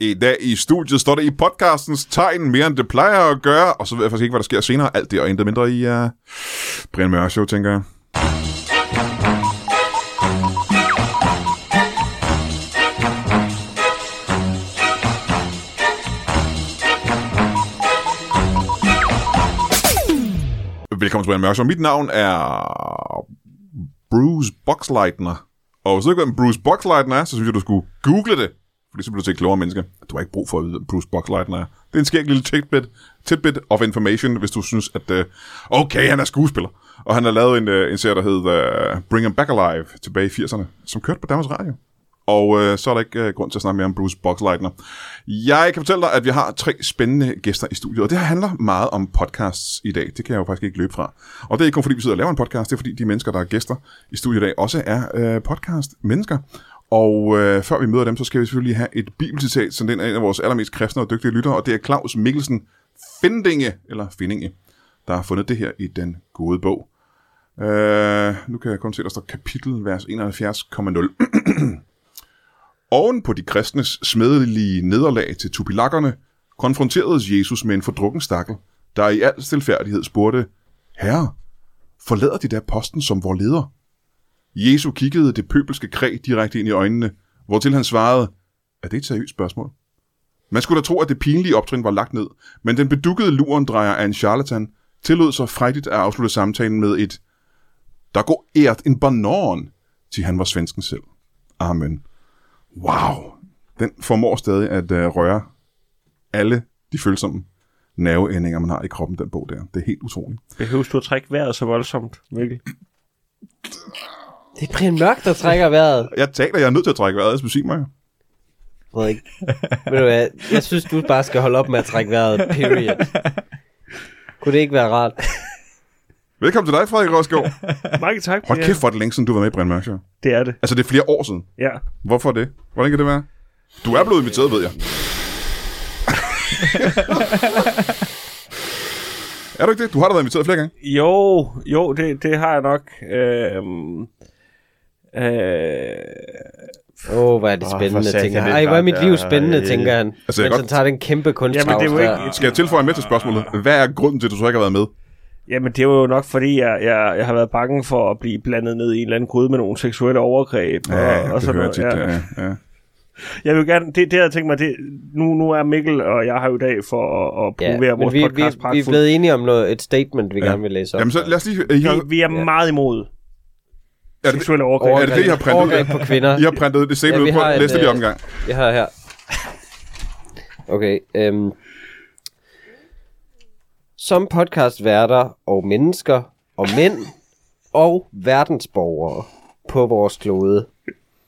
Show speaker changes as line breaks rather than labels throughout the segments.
I dag i studiet står det i podcastens tegn mere end det plejer at gøre, og så ved jeg faktisk ikke, hvad der sker senere. Alt det og intet mindre i uh, Brian Mørk Show, tænker jeg. Velkommen til Brian Mørk Show. Mit navn er Bruce Boxleitner. Og hvis du ikke ved, hvem Bruce Boxleitner er, så synes jeg, du skulle google det. Fordi så bliver du til et klogere menneske. Du har ikke brug for at vide, hvem Bruce Boxleitner er. Det er en skæg lille tidbit, tidbit of information, hvis du synes, at øh, okay, han er skuespiller. Og han har lavet en, øh, en serie, der hedder øh, Bring Him Back Alive tilbage i 80'erne, som kørte på Danmarks Radio. Og øh, så er der ikke øh, grund til at snakke mere om Bruce Boxleitner. Jeg kan fortælle dig, at vi har tre spændende gæster i studiet, og det her handler meget om podcasts i dag. Det kan jeg jo faktisk ikke løbe fra. Og det er ikke kun fordi, vi sidder og laver en podcast, det er fordi de mennesker, der er gæster i studiet i dag, også er øh, podcast-mennesker. Og øh, før vi møder dem, så skal vi selvfølgelig have et bibelcitat, som den er en af vores allermest kristne og dygtige lyttere, og det er Claus Mikkelsen Findinge, eller Findinge, der har fundet det her i den gode bog. Øh, nu kan jeg kun se, at der står kapitel, vers 71,0. Oven på de kristnes smedelige nederlag til tupilakkerne, konfronteredes Jesus med en fordrukken stakkel, der i al stilfærdighed spurgte, Herre, forlader de da posten som vor leder? Jesu kiggede det pøbelske kræ direkte ind i øjnene, hvortil han svarede, er det et seriøst spørgsmål? Man skulle da tro, at det pinlige optrin var lagt ned, men den bedukkede luren drejer af en charlatan, tillod sig frejdigt at afslutte samtalen med et, der går ært en banan, til han var svensken selv. Amen. Wow. Den formår stadig at øh, røre alle de følsomme nerveændinger, man har i kroppen, den bog der. Det er helt utroligt.
Behøves du at trække vejret så voldsomt, Mikkel?
Det er Brian Mørk, der trækker vejret.
Jeg taler, jeg er nødt til at trække vejret, ellers musik mig.
Frederik. Ved du hvad, jeg synes, du bare skal holde op med at trække vejret, period. Kunne det ikke være rart?
Velkommen til dig, Frederik Rosgaard.
Mange tak.
Hold
det er-
kæft, hvor er det længe siden, du var med i Brian Mørk Show.
Det er det.
Altså, det er flere år siden.
Ja.
Hvorfor det? Hvordan kan det være? Du er blevet inviteret, ved jeg. er du ikke det? Du har da været inviteret flere gange.
Jo, jo, det, det har jeg nok. Øhm, øh,
Åh, oh, hvor er det
Åh,
spændende,
for
oh,
satan,
tænker han.
det er
Ej, hvor er mit
klart,
liv
ja.
spændende, tænker han. Altså,
jeg godt-
Mens han tager den kæmpe kunstpause.
Jamen, det er jo ikke-
Skal jeg tilføje med til spørgsmålet? Hvad er grunden til, at du så ikke har været med?
jamen, det var jo nok, fordi jeg, jeg, jeg har været bange for at blive blandet ned i en eller anden gryde med nogle seksuelle overgreb. og, og
Ah, det
sådan
hører jeg
noget.
tit. Ja. Ja, ja.
Jeg vil gerne, det, det havde jeg tænkt mig, det, nu, nu er Mikkel og jeg her i dag for at, at
Ja,
promovere ja, vores
vi, vi,
podcast
vi er blevet enige om noget, et statement, vi
Ja.
ja. gerne vil læse op.
Jamen, så lad os lige... I har,
vi, vi er meget imod
er, det,
seksuelle overgreb.
er det det, I har printet ud?
Overgreb på kvinder.
I har printet det
Ja,
statement
vi
ud på.
har en,
Læs det lige
øh,
omgang.
Jeg har her. Okay. Øhm. Som podcastværter og mennesker og mænd og verdensborgere på vores klode,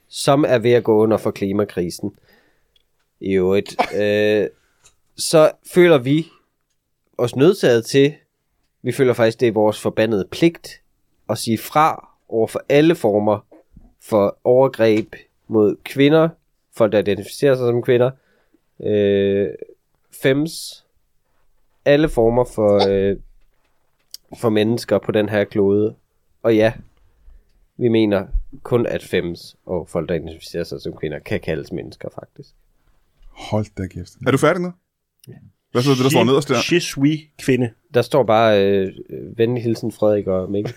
som er ved at gå under for klimakrisen i øvrigt, øh, så føler vi os nødsaget til, vi føler faktisk, det er vores forbandede pligt at sige fra over for alle former for overgreb mod kvinder, folk der identificerer sig som kvinder, øh, fems, alle former for, øh, for mennesker på den her klode. Og ja, vi mener kun, at fems og folk, der identificerer sig som kvinder, kan kaldes mennesker faktisk.
Hold da kæft. Er du færdig nu? Hvad så er det, der står nederst der?
Shis, we, kvinde.
Der står bare øh, øh, venlig hilsen Frederik og Mikkel.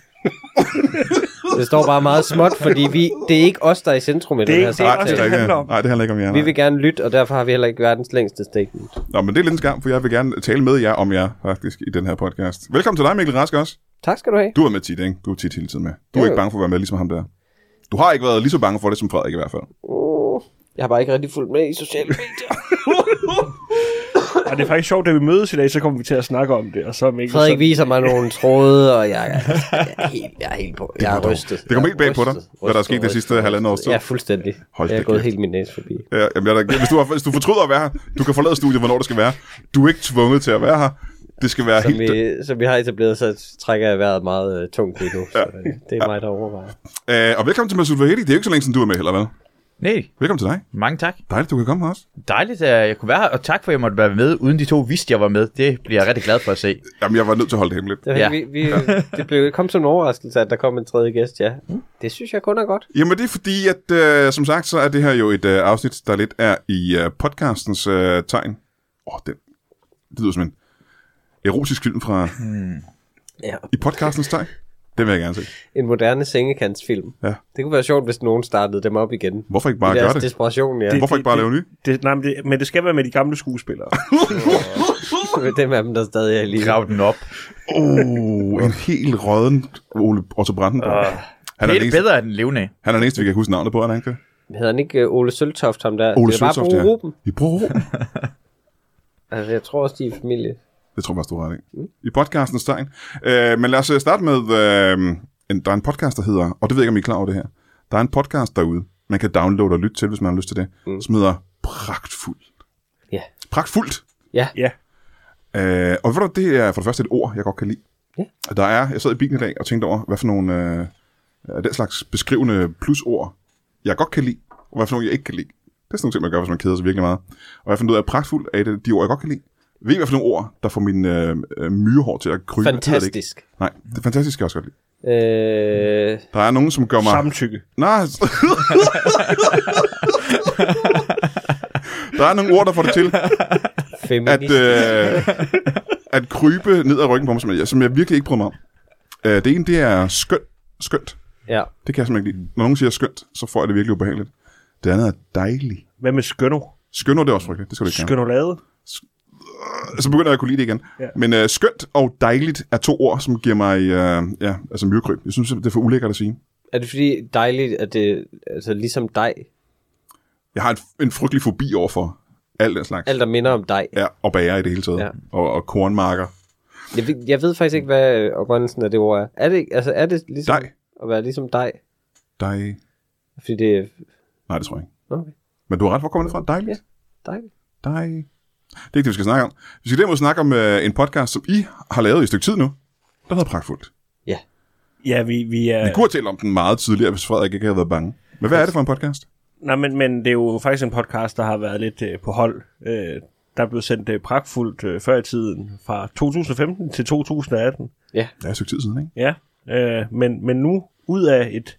det står bare meget småt, fordi vi, det er ikke os, der er i centrum i
Det er
den her
ikke- det er
Nej,
også
det,
samtale.
er
det, det
ikke,
handler om.
nej, det handler ikke om jer.
Vi
nej.
vil gerne lytte, og derfor har vi heller ikke verdens længste statement.
Nå, men det er lidt en skam, for jeg vil gerne tale med jer om jer, faktisk, i den her podcast. Velkommen til dig, Mikkel Rask også.
Tak skal du have.
Du er med tit, ikke? Du er tit hele tiden med. Du er
Jo,
ikke
jo.
bange for at være med, ligesom ham der. Du har ikke været lige så bange for det, som Frederik i hvert fald.
Uh, jeg har bare ikke rigtig fulgt med i sociale medier.
Og det er faktisk sjovt, da vi mødes i dag, så kommer vi til at snakke om det, og så er Mikkel
Frederik
sådan,
viser mig nogle tråde, og jeg, jeg, er, helt, jeg er helt på. Jeg er rystet.
Det kom
Jeg
helt bag på dig,
rystet,
hvad der er
rystet,
sket det
rystet,
sidste halvandet års tid.
Ja, fuldstændig.
Hold
Hold jeg
da
er gået
kæft.
helt min næse forbi.
Ja, jamen, jeg er da, hvis, du har, hvis du fortryder at være her, du kan forlade studiet, hvornår det skal være. Du er ikke tvunget til at være her. Det skal være
Som
helt...
vi, som vi har etableret, så trækker jeg vejret meget øh, tungt lige nu. Så, øh, det er mig, der overvejer.
Øh, og velkommen til Masoud Vahedi. Det er jo ikke så længe, siden du er med heller, vel?
Nej,
Velkommen til dig.
mange tak.
Dejligt, du kan komme her også.
Dejligt, at jeg kunne være her, og tak for, at jeg måtte være med, uden de to vidste, jeg var med. Det bliver jeg rigtig glad for at se.
Jamen, jeg var nødt til at holde det hemmeligt.
Det, ja.
Ja.
vi, vi, det blev, kom som en overraskelse, at der kom en tredje gæst, ja.
Mm.
Det synes jeg kun er godt.
Jamen, det er fordi, at øh, som sagt, så er det her jo et øh, afsnit, der lidt er i øh, podcastens øh, tegn. Åh, oh, den, det lyder som en erotisk film fra...
Ja.
I podcastens tegn? Den vil jeg gerne se.
En moderne sengekantsfilm.
Ja.
Det kunne være sjovt, hvis nogen startede dem op igen.
Hvorfor ikke bare
I
gøre
deres
det?
desperation, ja.
Hvorfor ikke bare
det,
lave ny?
Det, nej, men, det, men det skal være med de gamle skuespillere.
Med dem af dem, der stadig er i live.
Grav den op.
Oh, en helt rødden Ole Otto Brandenburg. Uh, han, er den
det er
eneste,
bedre end den levende.
han er den eneste, vi kan huske navnet på, er han ikke det?
Hedder han ikke øh, Ole Søltoft, ham der?
Ole
det er bare
Søltoft,
Bo
ja.
Ruben.
I bruger Ruben.
Altså, jeg tror også, de er i familie.
Det tror jeg faktisk, du har ret i. I podcastens tegn. Øh, men lad os øh, starte med, øh, en, der er en podcast, der hedder, og det ved jeg ikke, om I er klar over det her. Der er en podcast derude, man kan downloade og lytte til, hvis man har lyst til det, mm. som hedder Pragtfuldt.
Ja.
Pragtfuldt.
ja,
Øh, og ved du, hvad, det er for det første et ord, jeg godt kan lide.
Ja.
Der er, jeg sad i bilen i dag og tænkte over, hvad for nogle øh, af den slags beskrivende plusord, jeg godt kan lide, og hvad for nogle, jeg ikke kan lide. Det er sådan nogle ting, man gør, hvis man keder sig virkelig meget. Og jeg fandt ud af, at pragtfuldt er et af de ord, jeg godt kan lide. Ved I, hvad for nogle ord, der får min øh, øh, myrehår til at krybe? Det hedder Det ikke.
Fantastisk.
Nej, det er fantastisk, kan jeg også godt lide.
Øh,
Der er nogen, som gør mig...
samtykke.
Nej. der er nogle ord, der får det til at,
feminist.
øh, at krybe ned ad ryggen på mig, som jeg, som jeg virkelig ikke bryder mig om. Øh, det ene, det er skønt. Skønt.
Ja.
Det kan jeg simpelthen ikke lide. Når nogen siger skønt, så får jeg det virkelig ubehageligt. Det andet er dejlig.
Hvad med skønno?
Skønner, det er også frygteligt. Det skal du ikke gerne.
Skønnolade?
Så begynder jeg at kunne lide det igen. Ja.
Ja.
Men øh, skønt og dejligt er to ord, som giver mig øh, ja, altså myrekryb. Jeg synes, simpelthen, det er for ulækkert at sige.
Er det fordi dejligt, at det altså ligesom dig?
Jeg har en, en frygtelig fobi over for alt den slags.
Alt, der minder om dig.
Ja, og bager i det hele taget. Ja.
Ja.
Og, og kornmarker.
Jeg ved, jeg ved faktisk ikke, hvad øh, oprindelsen af det ord er. Er det, ikke- altså, er det ligesom
Dig.
at være ligesom dig?
Dej.
Fordi det er...
Nej, det tror jeg ikke.
Nå, Okay,
Men du har ret, hvor kommer det fra? Dejligt.
Ja. dejligt.
dig. Det er ikke det, vi skal snakke om. Vi skal derimod snakke om øh, en podcast, som I har lavet i et stykke tid nu. Der hedder Pragtfuldt.
Ja, vi, vi er...
Vi kunne have talt om den meget tidligere, hvis Frederik ikke havde været bange. Men hvad er det for en podcast?
Nej, men, men det er jo faktisk en podcast, der har været lidt øh, på hold. Øh, der blev sendt øh, pragtfuldt øh, før i tiden, fra 2015 til 2018.
Det er et stykke tid siden, ikke?
Ja, øh, men, men nu, ud af et,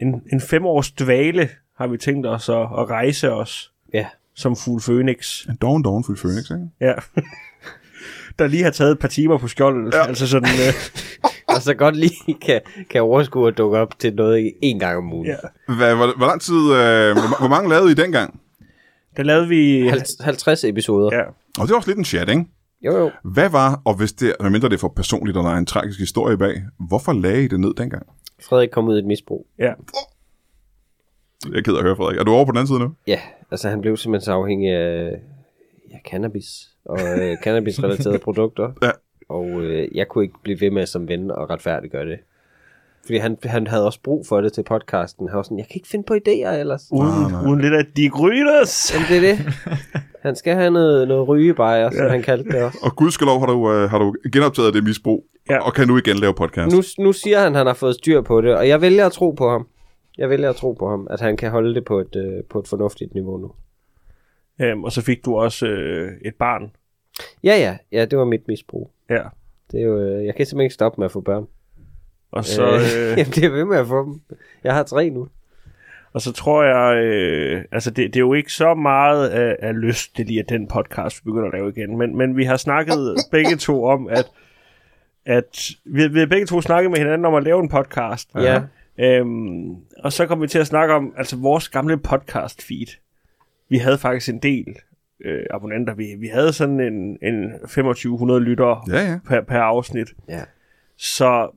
en, en femårs dvale, har vi tænkt os at, at rejse os
Ja.
som fugl Phoenix.
En doven, doven fuld Phoenix, ikke?
Ja. der lige har taget et par timer på skjoldet. Ja. Altså sådan, øh,
Og så godt lige kan, kan overskue at dukke op til noget en gang om ugen.
ja.
Ja.
Hvad, hvor, hvor lang tid... Øh, hvor, hvor mange lavede I dengang?
Der lavede vi... øh,
50 episoder. Ja.
Ja.
Og det er også lidt en chat, ikke?
Jo, jo.
Hvad var, og hvis det, medmindre det er for personligt, og der er en tragisk historie bag, hvorfor lagde I det ned dengang?
Frederik kom ud i et misbrug.
ja.
Jeg er ked af at høre, Frederik. Er du over på den anden side nu?
Ja, altså han blev simpelthen så afhængig af ja, cannabis og øh, cannabis-relaterede produkter.
Ja.
Og øh, jeg kunne ikke blive ved med som ven og retfærdiggøre det. Fordi han, han havde også brug for det til podcasten. Han var sådan, jeg kan ikke finde på idéer ellers.
Ah, nej.
Uden, uden lidt af de gryners.
Jamen, det er det. Han skal have noget, noget rygebajer, som han kaldte det også.
Og gudskelov har du, øh, har du genoptaget det misbrug, ja.
Ja.
og kan nu igen lave podcast.
Nu, nu siger han, at han har fået styr på det, og jeg vælger at tro på ham. Jeg vælger at tro på ham, at han kan holde det på et, øh, på et fornuftigt niveau nu.
Øhm, og så fik du også øh, et barn.
Ja, ja, ja, det var mit misbrug.
Ja.
Det er jo, øh, jeg kan simpelthen ikke stoppe med at få børn.
Og så, øh,
jeg bliver ved med at få dem. Jeg har tre nu.
og så tror jeg, øh, altså det, det er jo ikke så meget af, af lyst, det lige er den podcast, vi begynder at lave igen. Men, men vi har snakket begge to om, at, at vi, vi har begge to snakket med hinanden om at lave en podcast.
Ja.
Øhm, og så kom vi til at snakke om altså vores gamle podcast feed. Vi havde faktisk en del øh, abonnenter. Vi, vi havde sådan en, en 2500 lyttere
Ja, ja.
per, per afsnit.
Ja.
Så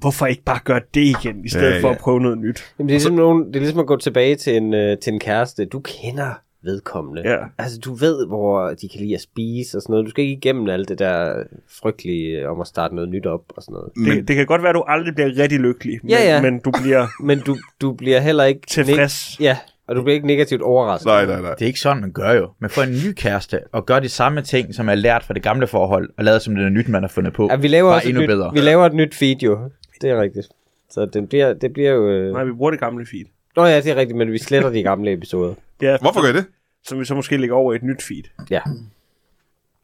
hvorfor ikke bare gøre det igen, i stedet
Ja,
ja, for
ja.
at prøve noget nyt?
Jamen, det, er ligesom nogen, det er ligesom at gå tilbage til en, øh, til en kæreste. Du kender vedkommende.
Ja.
Altså, du ved, hvor de kan lide at spise og sådan noget. Du skal ikke igennem alt det der frygtelige øh, om at starte noget nyt op og sådan noget.
Men, det, det kan godt være, at du aldrig bliver rigtig lykkelig, men,
Ja, ja.
men du bliver
Men du, du bliver heller ikke...
tilfreds.
Ja, og du bliver ikke negativt overrasket.
Nej, nej, nej.
Det er ikke sådan, man gør jo. Man får en ny kæreste og gør de samme ting, som er lært fra det gamle forhold, og lavet som det er nyt, man har fundet på.
Ja, vi laver
Bare
også
endnu
et nyt,
bedre.
Vi laver et nyt video. Det er rigtigt. Så det bliver, det bliver jo... øh,
Nej, vi bruger det gamle feed.
Nå ja, det er rigtigt, men vi sletter de gamle episoder.
Ja,
Hvorfor gør I det?
Som vi så måske lægger over i et nyt feed.
Ja.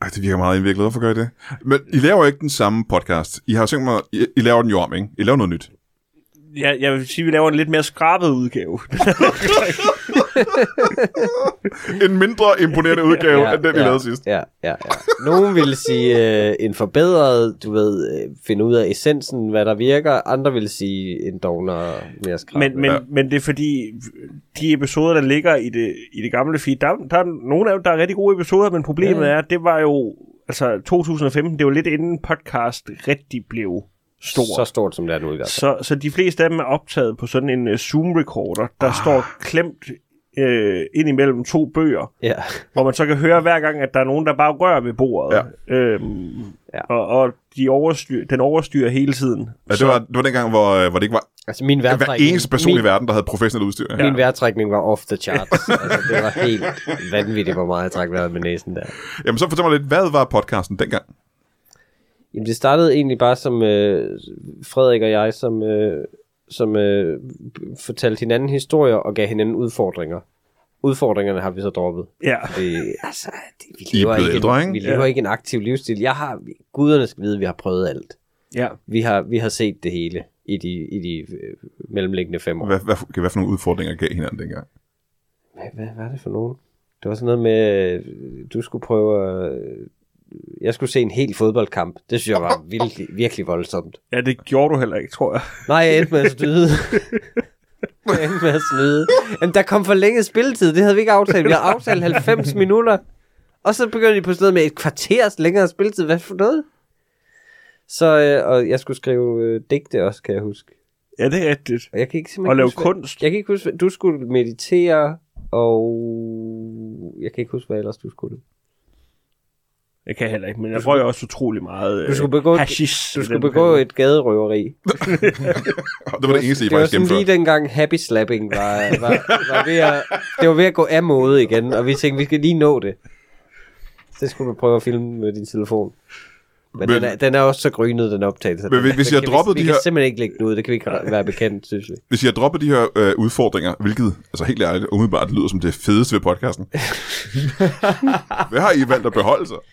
Ej, det virker meget indviklet. Hvorfor gør I det? Men I laver jo ikke den samme podcast. I har jo tænkt mig, I, I laver den jo om, ikke? I laver noget nyt.
Ja, jeg vil sige, at vi laver en lidt mere skrabet udgave.
En mindre imponerende udgave
ja,
end den, I
ja,
lavede sidst.
Ja, ja, ja. Nogen ville sige øh, en forbedret, du ved, øh, finde ud af essensen, hvad der virker. Andre ville sige en dogner mere skrab.
men, men,
Ja.
men det er fordi, de episoder, der ligger i det, i det gamle feed, der, der er nogle af dem, der er rigtig gode episoder, men problemet ja. er, det var jo, altså 2015, det var lidt inden podcast rigtig blev stor.
Så stort som det er nu i hvert fald.
Så, så de fleste af dem er optaget på sådan en uh, Zoom-recorder, der ah. står klemt uh, ind imellem to bøger,
Ja.
hvor man så kan høre hver gang, at der er nogen, der bare rører ved bordet. Ja. Øhm,
Ja.
ja. Og, og de overstyr, den overstyrer hele tiden.
Ja, det, var, det var dengang, hvor, øh, hvor det ikke var
Altså min
hver
vejrtrækning,
eneste person
min,
i verden, der havde professionelt udstyr. Ja.
min vejrtrækning var off the charts. altså, det var helt vanvittigt, hvor meget jeg trak vejret med næsen der.
Jamen så fortæl mig lidt, hvad var podcasten dengang?
Jamen, det startede egentlig bare som øh, Frederik og jeg, som, øh, som øh, fortalte hinanden historier og gav hinanden udfordringer. Udfordringerne har vi så droppet.
Ja.
Det, altså, det, vi
I er
lever,
blevet
ikke,
ældre, ikke?
en, vi lever
Ja.
ikke en aktiv livsstil. Jeg har, guderne skal vide, at vi har prøvet alt.
ja.
Vi har, vi har set det hele i de, i de øh, mellemliggende fem år.
Hvad, hvad, hvad, hvad for nogle udfordringer gav hinanden dengang?
Hvad, hvad, hvad er det for nogen? Det var sådan noget med, øh, du skulle prøve at... Jeg skulle se en hel fodboldkamp. Det synes jeg var virkelig, virkelig voldsomt.
ja, det gjorde du heller ikke, tror jeg.
Nej, jeg endte med at snyde. jeg endte med at snyde. Jamen, der kom forlænget spilletid. Det havde vi ikke aftalt. Vi havde aftalt 90 minutter. Og så begyndte de på sådan noget med et kvarters længere spilletid. Hvad for noget? Så, øh, og jeg skulle skrive øh, digte også, kan jeg huske.
Ja, det er rigtigt.
Og jeg kan ikke simpelthen
Og lave
huske, hvad-
kunst.
Jeg kan ikke huske, hvad- du skulle meditere, og jeg kan ikke huske, hvad ellers du skulle.
Jeg kan heller ikke, men jeg røg også utrolig meget øh,
Du skulle begå,
hashish.
du skulle begå et gaderøveri.
Og det var det eneste, I
det var
faktisk
sådan lige
gennemførte.
dengang happy slapping var, var, var ved at, det var ved at gå af mode igen, og vi tænkte, vi skal lige nå det. Det skulle du prøve at filme med din telefon. Men,
Men-
den, er, den er også så grynet, den optagelse.
Men hvis- hvis
Den
jeg
kan
droppede
vi,
de
vi
her-
kan simpelthen ikke lægge den ud, det kan vi ikke være bekendt, synes vi.
Hvis I har droppet de her øh, udfordringer, hvilket, altså helt ærligt, umiddelbart lyder som det fedeste ved podcasten. hvad har I valgt at beholde så?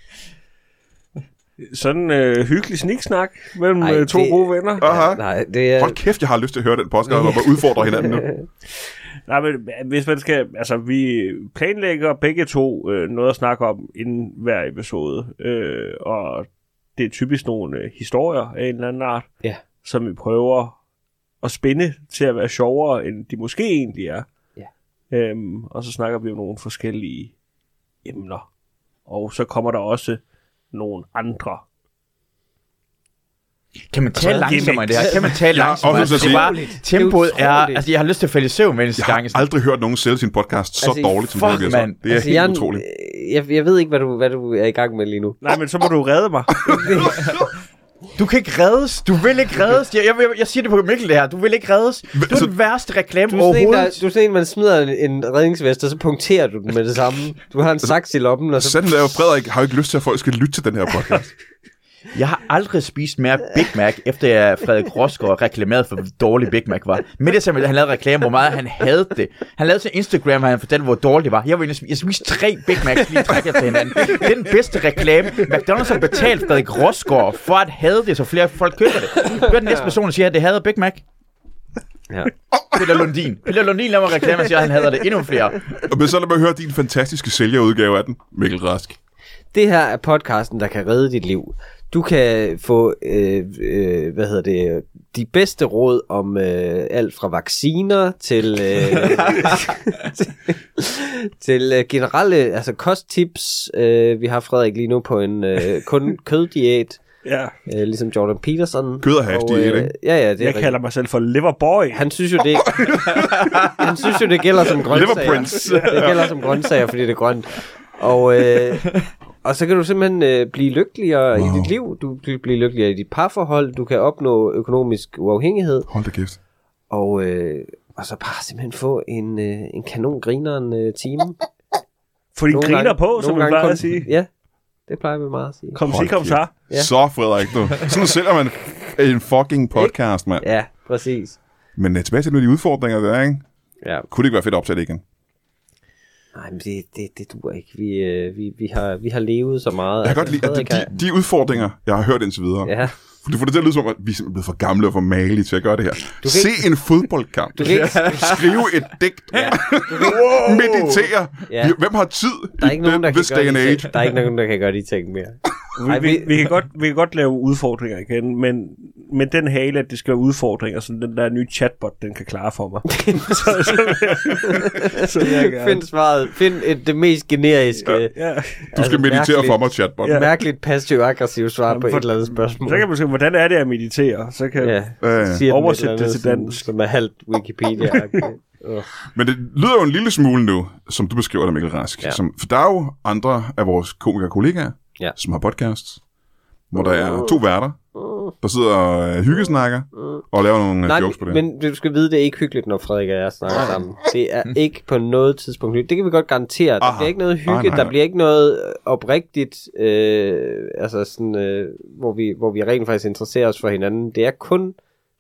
Sådan øh, hyggelig sniksnak mellem
Ej,
Ej, to
det-
gode venner.
Aha.
Nej, det er...
Hold kæft, jeg har lyst til at høre den podcast, hvor man udfordrer hinanden nu.
Nej, men hvis man skal... Altså, vi planlægger begge to øh, noget at snakke om inden hver episode. Øh, og det er typisk nogle øh, historier af en eller anden art,
Ja.
som vi prøver at spænde til at være sjovere, end de måske egentlig er.
Ja.
Øhm, og så snakker vi om nogle forskellige emner. Og så kommer der også nogle andre.
Kan man tale langsommere i det her? Kan man tale
Jeg har
langsommere?
også
Altså,
lyst til
det
at
er
sige-
bare, tempoet
Det er
er...
utroligt.
Altså, jeg har lyst til at falde i søvn, mens
Jeg
jeg
har aldrig hørt nogen sælge sin podcast så
Altså,
dårligt, som
fuck,
det her.
mand.
Det er
altså,
helt
jeg,
utroligt.
Jeg, jeg ved ikke, hvad du, hvad du er i gang med lige nu.
Nej, men så må du redde mig.
Du kan ikke reddes. Du vil ikke reddes. Jeg, jeg, jeg, jeg siger det på Mikkel, det her. Du vil ikke reddes. Du er
altså-
den værste reklame
Du er, sådan en, der,
overhovedet.
du er sådan en, man smider en, en redningsvest, og så punkterer du den med det samme. Du har en
Altså,
saks i lommen, og så
Sanden er jo, Frederik har jo ikke lyst til, at folk skal lytte til den her podcast.
Jeg har aldrig spist mere Big Mac, efter jeg Frederik Rosgaard reklamerede for, hvor dårlig Big Mac var. Med det samme, han lavede reklame, hvor meget han havde det. Han lavede til Instagram, hvor han fortalte, hvor dårligt det var. Jeg, var inde og sm- jeg spiste tre Big Macs lige i træk efter hinanden. Det er den bedste reklame. McDonald's har betalt Frederik Rosgaard for at have det, så flere folk køber det. Du er den næste person, der siger, at det havde Big Mac.
Ja.
Peter Lundin. Peter Lundin laver reklame og siger, at han hader det endnu flere.
Men så lad mig høre din fantastiske sælgerudgave af den, Mikkel Rask.
Det her er podcasten, der kan redde dit liv. Du kan få, øh, øh, hvad hedder det, de bedste råd om øh, alt fra vacciner til, øh, til, til øh, generelle, altså kosttips. Øh, vi har Frederik lige nu på en øh, kun køddiæt,
ja.
øh, ligesom Jordan Peterson. øh,
Kød og hash diæt, ikke?
Ja, ja, det er
Jeg
rigtigt.
kalder mig selv for Liverboy.
Han synes jo, det, han synes jo, det gælder som grøntsager.
Liverprints.
Det gælder som grøntsager, fordi det er grønt. Og, øh, og så kan du simpelthen øh, blive lykkeligere wow. i dit liv. Du kan blive lykkeligere i dit parforhold. Du kan opnå økonomisk uafhængighed.
Hold da kæft.
Og, øh, og så bare simpelthen få en, øh, en kanon grineren øh, time.
Få din
Nogle
griner
gange-
på, som
nogle
man
gange
plejer
kom-
at sige.
Ja, det plejer vi meget at sige.
Kom,
Hold
sig, kom,
kæft.
så.
Ja.
Ja.
Så, Frederik, nu. Sådan sælger man en fucking podcast, mand. øh,
Ja, præcis.
Men uh, tilbage til nu de udfordringer, der er, ikke?
Ja.
Kunne det ikke være fedt at optage det igen?
Nej, men det, det, det dur ikke. Vi, øh, vi, vi, har, vi har levet så meget.
Jeg kan godt lide, at de,
Altså, Frederik har-
de, de udfordringer, jeg har hørt indtil videre,
Ja,
for det får det til at lyde som om, at vi er simpelthen blevet for gamle og for malige til at gøre det her.
kan
Se en fodboldkamp.
du kan ikke,
Skrive et digt. Ja. Meditere.
Ja.
Ja. Hvem har tid
der er ikke
i
nogen, der kan
this day
gøre
and
de
age?
ting. Der er ikke nogen, der kan gøre de ting mere. Ej,
Vi, vi, vi, kan godt, vi kan godt lave udfordringer igen, men men den hale, at det skal være udfordringer, så den der nye chatbot, den kan klare for mig. så, så, vil jeg, så vil jeg gerne.
Find svaret. Find et, det mest generiske, ja. Altså,
Ja.
Du skal meditere for mig, chatbot.
Ja.
mærkeligt passiv-aggressivt svar på
for-
et eller andet spørgsmål.
Så kan man sige, hvordan er det at meditere? Så kan
Ja.
Ja, ja.
Siger den et
Oversæt
eller
det
andet,
til
som-
dansk.
Som er halvt Wikipedia-agtigt.
Men det lyder jo en lille smule nu, som du beskriver det, Mikkel Rask. Ja.
Ja.
Som, for der er jo andre af vores komikere kollegaer,
Ja.
som har podcasts, hvor der er to værter, der sidder og øh, hyggesnakker og laver nogle Nej,
Nej,
jokes på det. Men...
men du skal vide, det er ikke hyggeligt, når Frederik og jeg snakker sammen. Det er ikke på noget tidspunkt hyggeligt. Det kan vi godt garantere. Der
Mm. Aha.
bliver ikke noget hygge,
Nej, nej, nej.
der bliver ikke noget øh, oprigtigt, øh, altså sådan, øh, hvor, vi, hvor vi rent faktisk interesserer os for hinanden. Det er kun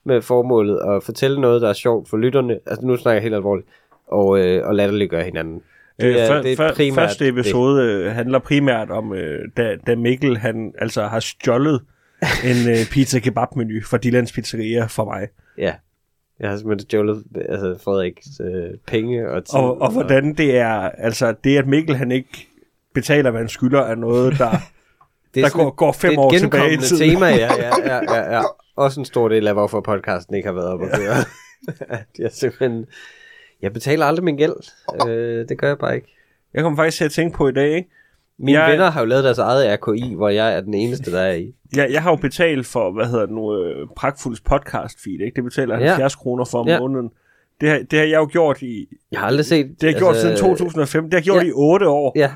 med formålet at fortælle noget, der er sjovt for lytterne. Altså nu snakker jeg helt alvorligt. Og, øh, og latterliggøre hinanden.
Øh,
Det er-
før-
det er
før-
primært
første
det.
episode øh, handler primært om, øh, da, da Mikkel han, altså, har stjålet en øh, pizza kebab menu fra Dillands Pizzeria for mig.
Ja. Jeg har simpelthen stjålet altså Frederiks øh, penge og tid.
Og, og hvordan det er, altså det at Mikkel han ikke betaler, hvad han skylder, er noget, der,
det
der
sådan
går,
et-
går fem
det er
år
et
tilbage i
genkommende
tiden.
tema, ja, ja, ja, ja, ja. Også en stor del af, hvorfor podcasten ikke har været oppe at køre. At jeg simpelthen... Jeg betaler aldrig min gæld. Øh, det gør jeg bare ikke.
Jeg kom faktisk til at tænke på i dag, ikke?
Mine
Jeg-
jeg... venner har jo lavet deres eget RKI, hvor jeg er den eneste, der er i.
Jeg, jeg har jo betalt for, hvad hedder det nu, øh, Pragtfulds podcast feed, ikke? Det betaler jeg
Ja.
70 kroner for om
Ja.
måneden. Det har, det har jeg jo gjort i...
Jeg har aldrig set...
Det har jeg gjort siden 2005. Det har jeg gjort
Altså, ja.
i 8 år.
Ja.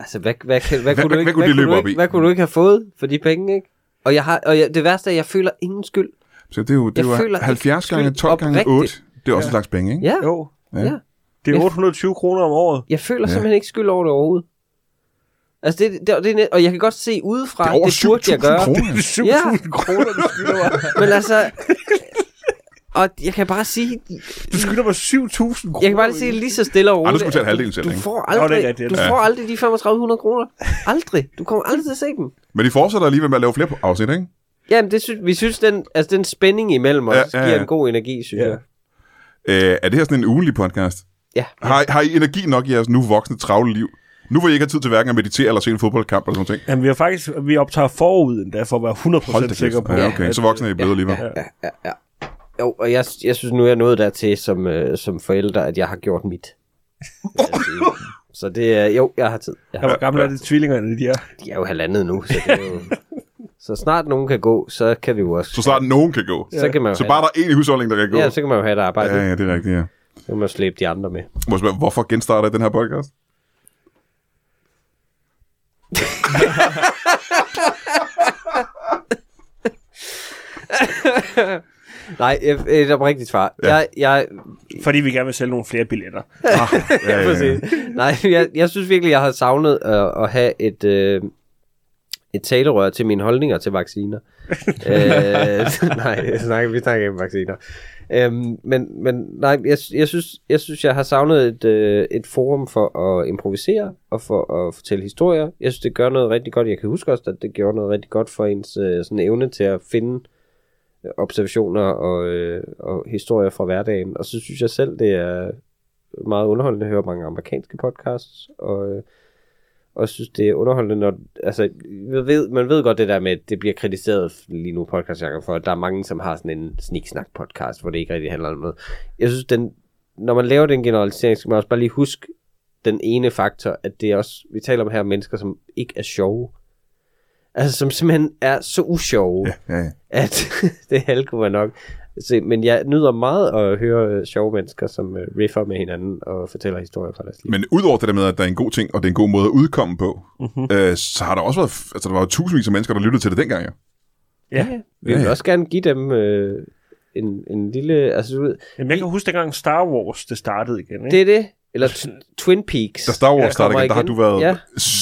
Altså, hvad, hvad, hvad, hvad, kunne,
hvad
du ikke,
kunne de
hvad,
løbe
kunne,
op
du ikke,
i?
hvad kunne du ikke have fået for de penge, ikke? Og, jeg har, og jeg, det værste er, at jeg føler ingen skyld.
Så det er jo, det er
Jeg
jo
føler
70
ikke
gange
skyld
12 gange 8.
oprigtigt.
Det er også ja. en slags penge, ikke?
Ja,
Jo,
Ja.
ja. ja.
det er
Ja.
820 kroner om året.
Jeg føler
Ja.
ja. simpelthen ikke skyld over det overhovedet. Altså, det, det, det, er net- og jeg kan godt se udefra,
Det er
det,
over
det burde jeg
7.000
gøre.
kroner. altså.
7.000
Ja.
kroner, du skylder mig.
Men altså... Og jeg kan bare sige...
Du skylder mig 7.000 kroner.
Jeg kan bare lige sige lige så stille og roligt.
Ej, du skulle betale halvdelen selv,
Du
ikke?
får
Nå, det er
aldrig,
rigtigt,
du
ja.
får aldrig de 3500 kroner. Aldrig. Du kommer aldrig til at se dem.
Men de fortsætter alligevel med at lave flere afsnit, ikke?
Jamen, det synes, vi synes, den, altså, den spænding imellem os
Ja,
ja,
ja,
ja,
ja.
giver en god energi, synes
Ja.
ja. jeg.
Øh, er det her sådan en ugenlig podcast?
Ja.
Har, I- har I energi nok i jeres nu voksne, travle liv? Nu hvor I ikke har tid til hverken at meditere eller se en fodboldkamp eller sådan noget.
Jamen, vi har faktisk, vi optager forud endda, for at være 100%
Hold da
sikker
kæft.
på.
Ja, okay,
at-
så voksne er I blevet alligevel.
Jo, og jeg, jeg synes nu, jeg er nået dertil som, øh, som forælder, at jeg har gjort mit. vil jeg sige. Så det er... Jo, jeg har tid. Jeg har
Ja, hvor gamle er det tvillingerne, de er?
de er jo halvandet nu, så det er jo... så snart nogen kan gå, så kan vi jo også...
Så snart nogen kan gå.
så kan man jo
Så
have,
bare der er en i husholdningen, der kan gå.
ja, så kan man jo have et arbejde.
Ja,
Ja.
ja, det er rigtigt, ja.
Så kan man jo slæbe de andre med.
Må jeg spørge, hvorfor genstarter jeg den her podcast?
Nej, et, et oprigtigt svar. Ja. Jeg, jeg,
Fordi vi gerne vil sælge nogle flere billetter.
Ah, ja, ja, ja.
præcis. Nej, jeg, jeg synes virkelig, jeg har savnet at, at have et, øh, et talerør til mine holdninger til vacciner. øh, nej, jeg snakker, vi snakker ikke om vacciner. Øhm, men, men nej, jeg, jeg, synes, jeg synes, jeg har savnet et, øh, et forum for at improvisere og for at fortælle historier. Jeg synes, det gør noget rigtig godt. Jeg kan huske også, at det gjorde noget rigtig godt for ens øh, sådan evne til at finde øh, observationer og, øh, og historier fra hverdagen. Og så synes jeg selv, det er meget underholdende. Jeg hører mange amerikanske podcasts, og, øh, og jeg synes, det er underholdende, når... Altså, man ved, man ved godt det der med, at det bliver kritiseret lige nu podcast Jacob, for, at der er mange, som har sådan en sniksnak podcast, hvor det ikke rigtig handler om noget. Jeg synes, den, når man laver den generalisering, skal man også bare lige huske den ene faktor, at det er også, vi taler om her mennesker, som ikke er sjove. Altså, som simpelthen er så usjove
Ja, ja, ja.
at det halve var nok. Se, men jeg nyder meget at høre øh, sjove mennesker, som øh, riffer med hinanden og fortæller historier fra deres liv.
Men udover det der med, at der er en god ting, og det er en god måde at udkomme på,
Mhm.
mm-hmm. øh, så har der også været, f- altså der var jo tusindvis af mennesker, der lyttede til det dengang, ja.
Ja.
Vi
Ja,
vil
ja.
også gerne give dem øh, en, en lille... Altså, du ved,
Jamen, jeg kan huske dengang Star Wars, det startede igen, ikke?
det er det. Eller t- Twin Peaks.
Da Star Wars ja,
kommer
startede igen, der har du
igen.
været
Ja.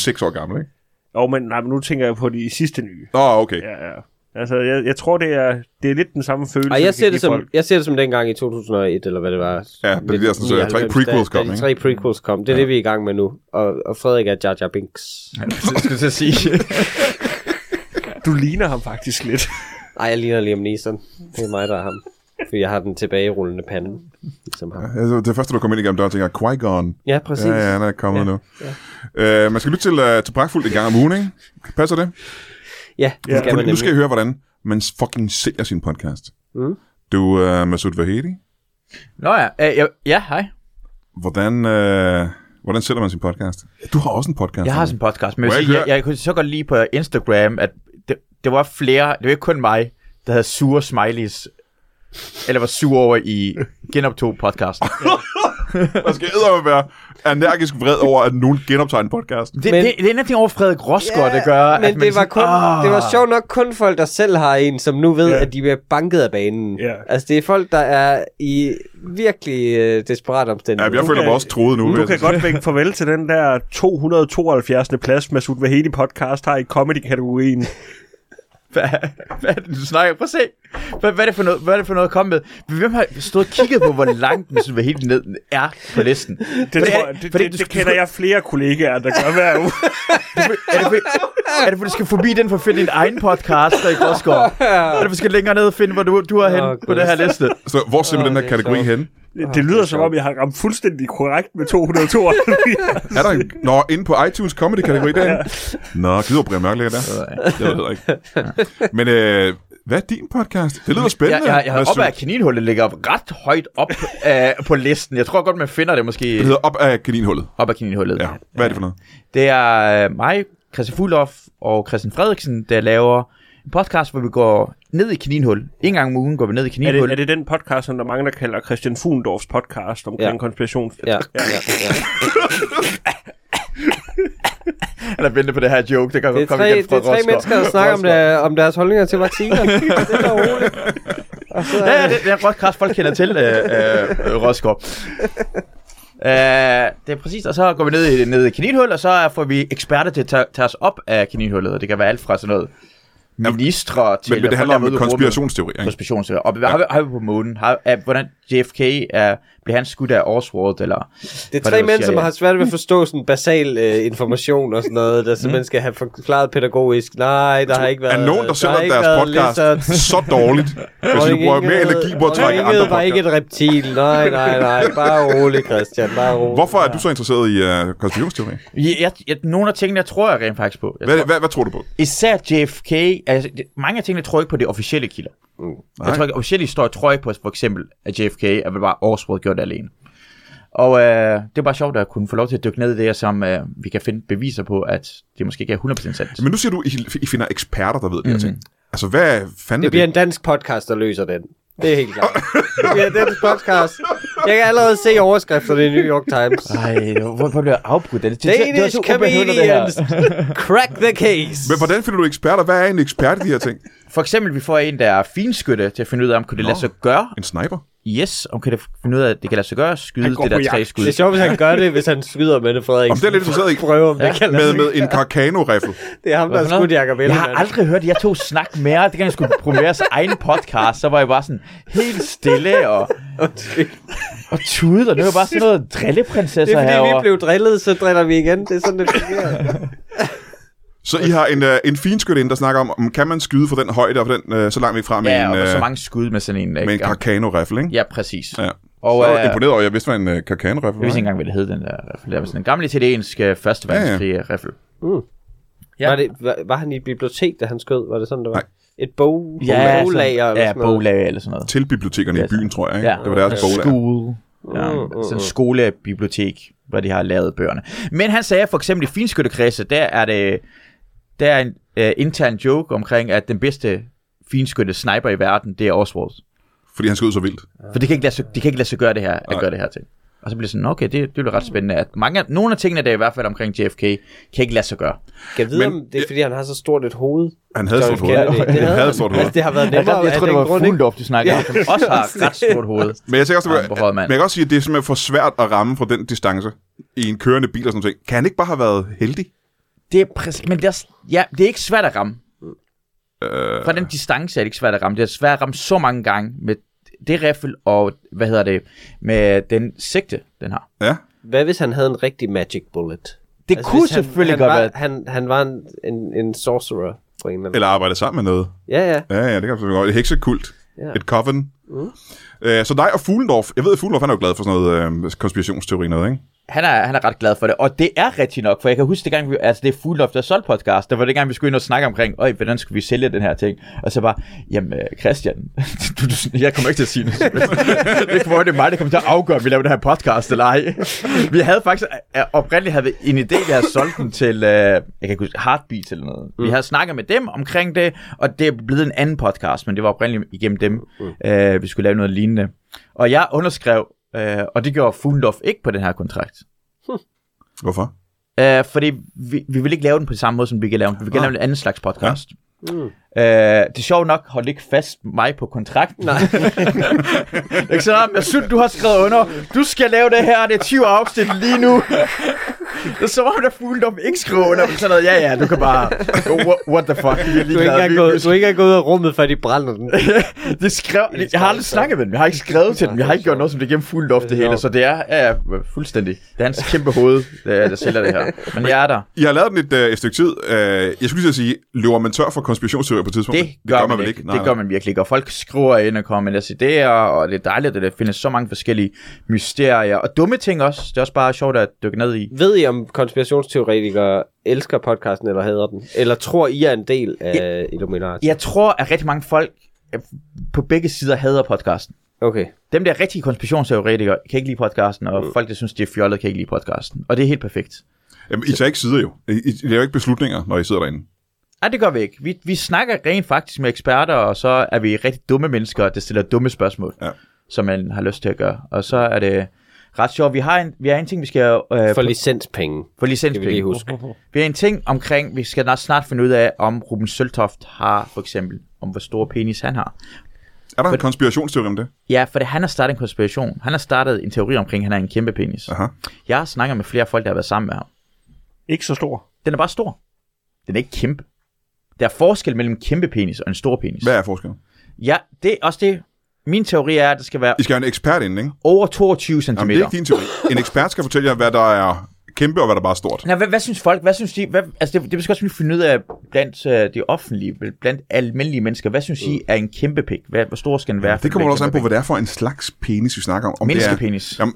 seks år gammel, ikke?
Jo, men, nej, men nu tænker jeg på de sidste nye.
Åh, oh, okay. Ja.
Ja, ja. Altså, jeg, jeg tror, det er, det er lidt den samme følelse.
Ej,
vi kan
jeg ser,
give
det som,
folk.
jeg ser det som dengang i 2001, eller hvad det var.
Ja, da de der sådan, så tre
99,
prequels
da- da
kom,
de tre prequels kom. Det er ja. det, vi er i gang med nu. Og, og Frederik er Jar Jar Binks.
Det skulle jeg til at sige.
Du ligner ham faktisk lidt.
Ej, jeg ligner Liam Neeson. Det er mig, der er ham. Fordi jeg har den tilbagerullende pande, ligesom ham.
Altså, det første, du kom ind igennem døren, tænker jeg, Qui-Gon.
Ja, præcis.
Ja, ja, han er kommet ja. nu. Ja. Øh, man skal lytte til, uh, til Pragtfuldt en gang om ugen, ikke? Passer det?
Ja, det
Ja.
skal man
Fordi nu skal I
nemlig.
høre, hvordan man fucking sælger sin podcast.
Mm.
Du, uh, Masoud Vahedi,
Nå ja, øh, ja, ja, hej.
hvordan, uh, hvordan sælger man sin podcast? Du har også en podcast.
Jeg har
Henrik.
sådan en podcast, men jeg,
Må
vil
jeg
sige,
ikke
jeg, jeg, kunne så godt lide på Instagram, at det, det var flere, det var ikke kun mig, der havde sure smileys, eller var sur over i genoptog podcasten.
Man skal æder være energisk vred over, at nogen genoptager en podcast.
Det,
Men-
men, det, det er en af de over Frederik Rosgaard, der gør, at
men
man
det var,
sådan,
kun,
"Ah."
det var sjovt nok kun folk, der selv har en, som nu ved,
Ja.
at de bliver banket af banen.
Ja.
Altså, det er folk, der er i virkelig øh, desperat
Ja,
omstændighed.
jeg føler mig
kan-
også troet nu. vil
Du
jeg
kan
sige.
godt vinke farvel til den der 272. plads, Masoud Vahedi podcast har i comedy-kategorien.
Hvad, hvad er det, du snakker? Prøv at se. Hvad, hvad, er det for noget, hvad er det for noget at komme med? Hvem har stået og kigget på, hvor langt den sådan helt ned er på listen?
Det, tror, jeg- det, det, det, det kender jeg flere kollegaer, der gør hver uge.
Er det, for, er det for, du skal forbi den for at finde din egen podcast, der i Gråsgaard? Er det for, du skal længere ned og finde, hvor du, du er henne
Åh,
oh, på det her liste?
Så hvor ser man den her
det er
kategori
sjovt.
hen?
Det lyder som om, jeg har ramt fuldstændig korrekt med 272.
Er der en... Nå, inde på iTunes comedy-kategori derinde? Nå, gider Brian Mørk ligger der? Det ved jeg ikke. Men øh, hvad er din podcast? Det lyder
Jeg,
spændende.
jeg, jeg har
Masoud.
op af kaninhullet ligger ret højt op uh, på listen. Jeg tror godt, man finder det måske
Det hedder op af kaninhullet.
op af kaninhullet.
Ja. Hvad er det for noget?
Det er øh, mig, Christian Fulof og Christian Frederiksen, der laver en podcast, hvor vi går ned i kaninhul. En gang om ugen går vi ned i
er,
kaninhul.
det, er det den podcast, som der er mange, der kalder Christian Fugendorfs podcast omkring
Ja.
ja. konspiration?
Ja, ja, ja.
Han er ventet på det her joke, der kan
Det er
komme
tre,
igen
det
fra
er tre
Roskilde.
mennesker, der snakker om, der, om deres holdninger til vacciner. det er da roligt. Og så,
Ja, ja, det, det er en podcast, folk kender til, øh, øh, øh, Roskov. Øh, det er præcis, og så går vi ned i, ned i kaninhul, og så får vi eksperter til at tage, tage os op af kaninhullet, og det kan være alt fra sådan noget ministre til...
Men, men det
folk,
handler
der er ude
om
i rummet.
konspirationsteorier, ikke?
Konspirationsteorier. Og har, vi, har vi på månen? Har, er, hvordan JFK er, bliver han skudt af Oswald, eller...
det er
Hvad
tre
det, du
mænd,
siger,
som
ja.
har svært ved at forstå sådan basal øh, information og sådan noget, der
Mm-hmm.
simpelthen skal have forklaret pædagogisk. Nej, der har ikke været...
Er nogen, der sælger
har ikke
deres
været
podcast så
lizard.
dårligt, hvis de
Dronning
bruger mere
Ingrid-
energi på at trække andre
Dronning Ingrid var ikke
podcasts?
et reptil. Nej, nej, nej. Bare rolig, Christian. Bare rolig.
Hvorfor er du så interesseret i uh, konspirationsteorier?
Jeg, jeg, jeg, nogle af tingene, jeg tror jeg rent faktisk på. Jeg
Hvad,
tror,
hvad, hvad tror du på?
især JFK, altså, det, mange af tingene tror jeg ikke på de officielle kilder. Jeg tror ikke, officielle historier tror jeg ikke på, for eksempel, at JFK er vel bare Oswald gjort det alene. Og øh, det er bare sjovt at kunne få lov til at dykke ned i det her, som øh, vi kan finde beviser på, at det måske ikke er 100% sandt.
Men nu siger du, I, I finder eksperter, der ved det her ting. Altså, hvad fanden
Det
er det?
bliver en dansk podcast, der løser den. Det er helt klart. Det bliver en dansk podcast. Jeg kan allerede se overskrifterne i New York Times.
Ah.
Ej, hvor hvor blev jeg afbrudt? af Det, det, det, det var
Danish
så ubehøvlet, det
comedians
her.
crack the case.
Men hvordan finder du eksperter? Hvad er en ekspert i de her ting?
For eksempel, vi får en, der er finskytte, til at finde ud af, om kunne det lade sig gøre.
En sniper?
Yes, om kan det finde ud af, at det kan lade sig gøre at
Han
skyde
går
det der
på
tre
jagt.
skud.
Det er sjovt, hvis han gør det, hvis han skyder Mette Frederiksen.
Om det er lidt interesseret i.
Prøve, om det kan lade
Med,
sig.
med en Carcano-riffel.
Det er ham, der
Hvad
har
for noget?
skudt Jacob
Jeg har
Ellemann.
aldrig hørt, at jeg tog snak mere. Det kan jeg skulle promovere sin egen podcast, så var jeg bare sådan helt stille og, og tude, og nu er jeg bare sådan noget
Det
drilleprinsesser
er fordi, vi
herovre.
blev drillet, så driller vi igen. Det er sådan, det fungerer.
Så I har en, øh, en finskytte ind, der snakker om, om, kan man skyde fra den højde og fra den, øh, så langt væk fra med
Ja, og
en,
med
øh,
så mange skud med sådan en... øh,
med en
gang.
Carcano-riffel, ikke?
Ja, præcis.
Ja.
Og
Jeg
øh,
var
jeg
imponeret over, at jeg vidste, hvad en øh, Carcano-riffel
vidste ikke
var.
engang, hvad det hed, den der riffel. Det var sådan en gammel italiensk øh, første
ja.
verdenskrig ja, riffel.
Ja.
Ja.
Var, det, var, var han i et bibliotek, da han skød? Var det sådan, det var?
Nej.
Et bog,
Ja,
boglager?
sådan,
eller
ja,
sådan noget?
boglager eller sådan noget.
Til bibliotekerne i
Ja,
byen, tror jeg. Ikke? Det var deres boglag.
Skole. Ja,
Mm, mm,
sådan en skolebibliotek, hvor de har lavet bøgerne. Men han sagde for eksempel i finskyttekredse, der er det der er en uh, intern joke omkring, at den bedste finskytte sniper i verden, det er Oswald.
Fordi han skød så vildt.
For det kan ikke lade sig, de kan ikke lade sig gøre det her, at
Nej.
gøre det her til. Og så bliver det sådan, okay, det, det bliver ret spændende. At mange, af- nogle af tingene, der i hvert fald omkring JFK, kan ikke lade sig gøre.
Kan jeg vide,
Men-
om det er, fordi han har så stort et hoved?
Han havde
John
stort hoved.
Kennedy.
Han havde
han.
stort hoved.
Altså, det har været nemmere af den grund, ikke?
du snakker om, som også har ret stort hoved.
Men jeg tænker også,
Armen
at,
på højre
men
mand.
jeg kan også sige, at det er simpelthen for svært at ramme fra den distance i en kørende bil og sådan noget. Kan han ikke bare have været heldig?
Det er præcis, men det er, også- ja, det er ikke svært at ramme.
Øh,
Fra den distance er det ikke svært at ramme. Det er svært at ramme så mange gange med det riffel og, hvad hedder det, med den sigte, den har.
ja.
Hvad hvis han havde en rigtig magic bullet?
Det kunne
Altså, hvis
selvfølgelig
han,
godt
han
være-
Var, han, han var en, en, en sorcerer på en eller anden
Eller arbejde sammen med noget.
Ja, ja.
Ja, ja, det kan jeg selvfølgelig godt. Et heksekult.
Ja.
Et coven. Mm. så dig og Fuglendorf. Jeg ved, at Fuglendorf han er jo glad for sådan noget øh, konspirationsteori noget, ikke?
Han er, han er ret glad for det, og det er rigtigt nok, for jeg kan huske, det gang, vi, altså det er Full Loft, der solgte podcast, der var det gang, vi skulle ind og snakke omkring, øj, hvordan skulle vi sælge den her ting, og så bare, jamen øh, Christian, du, du, jeg kommer ikke til at sige noget. som helst. det kommer det er mig, der kommer til at afgøre, om vi laver den her podcast eller ej. vi havde faktisk, øh, oprindeligt havde vi en idé, vi havde solgt den til, øh, jeg kan ikke huske, Heartbeat eller noget. Mm. Vi havde snakket med dem omkring det, og det er blevet en anden podcast, men det var oprindeligt igennem dem, øh, vi skulle lave noget lignende. Og jeg underskrev, øh, og det gjorde Fuglendorf ikke på den her kontrakt.
Hvorfor?
Øh, fordi vi, vi vil ikke lave den på samme måde, som vi kan lave den. Vi kan lave en anden slags podcast.
Mm.
Øh, det er sjovt nok, holdt ikke fast mig på kontrakten. Nej. ikke sådan, "Nå, men jeg synes, du har skrevet under. Du skal lave det her, det er 20 afsnit lige nu. Og så var der fuldt om ikke skrive under, men sådan noget, ja ja, du kan bare, what, what the fuck, vi er
Du er, ikke
ligeglade,
engang
vi,
gået, du er ikke engang gået ud af rummet, før de brænder den.
det skrev, det, jeg har aldrig snakket med dem. Jeg har ikke skrevet til dem. Jeg har ikke gjort noget, som det gennem fuldt op det hele. Så det er ja, ja, fuldstændig. Det er hans kæmpe hoved, øh, der, der sælger det her. Men jeg er der.
I har lavet den et, øh, et stykke tid. Øh, jeg skulle lige til at sige, løber man tør for konspirationsteorier på et tidspunkt?
Det gør, det gør man, man ikke.
Nej,
det gør
nej.
man virkelig ikke. Og folk skriver ind og kommer med deres idéer, og det er dejligt, at der findes så mange forskellige mysterier. Og dumme ting også. Det er også bare sjovt at dykke ned i.
Ved I, om konspirationsteoretikere elsker podcasten eller hader den? Eller tror I er en del af Illuminati?
Jeg tror, at rigtig mange folk øh, på begge sider hader podcasten.
Okay.
Dem der rigtige konspirationsteoretikere kan ikke lide podcasten, og folk, der synes, de er fjollede, kan ikke lide podcasten. Og det er helt perfekt.
Jamen, I tager ikke sider jo. I, I, I laver ikke beslutninger, når I sidder derinde.
Nej, det gør vi ikke. Vi, vi snakker rent faktisk med eksperter, og så er vi rigtig dumme mennesker, der stiller dumme spørgsmål,
Ja.
som man har lyst til at gøre. Og så er det ret sjovt. Vi har en, vi har en ting, vi skal... Øh,
For licenspenge,
for
skal vi lige
licenspenge.
huske.
Vi har en ting omkring, vi skal nok snart finde ud af, om Ruben Søltoft har, for eksempel, om hvor stor penis han har.
Er der en konspirationsteori om det?
Ja, for det, han har startet en konspiration. Han har startet en teori omkring, at han har en kæmpe penis.
Aha.
Jeg har snakket med flere folk, der har været sammen med ham.
Ikke så stor.
Den er bare stor. Den er ikke kæmpe. Der er forskel mellem en kæmpe penis og en stor penis.
Hvad er forskellen?
Ja, det er også det. Min teori er, at der skal være
I skal have en ekspert inden, ikke?
over 22 cm.
Jamen, det er ikke din teori. En ekspert skal fortælle jer, hvad der er kæmpe og hvad der bare er stort.
Nej, hvad, hvad synes folk? Hvad synes de? Hvad, altså, det, det skal også vi finde ud af blandt øh, det offentlige, bl- blandt almindelige mennesker. Hvad synes I er en kæmpe pik? Hvad, hvor stor skal den være? for
Øh. Det kommer
en
også an på,
kæmpe
hvad det er for en slags penis, vi snakker om. om det er-
Menneskepenis.
Jamen,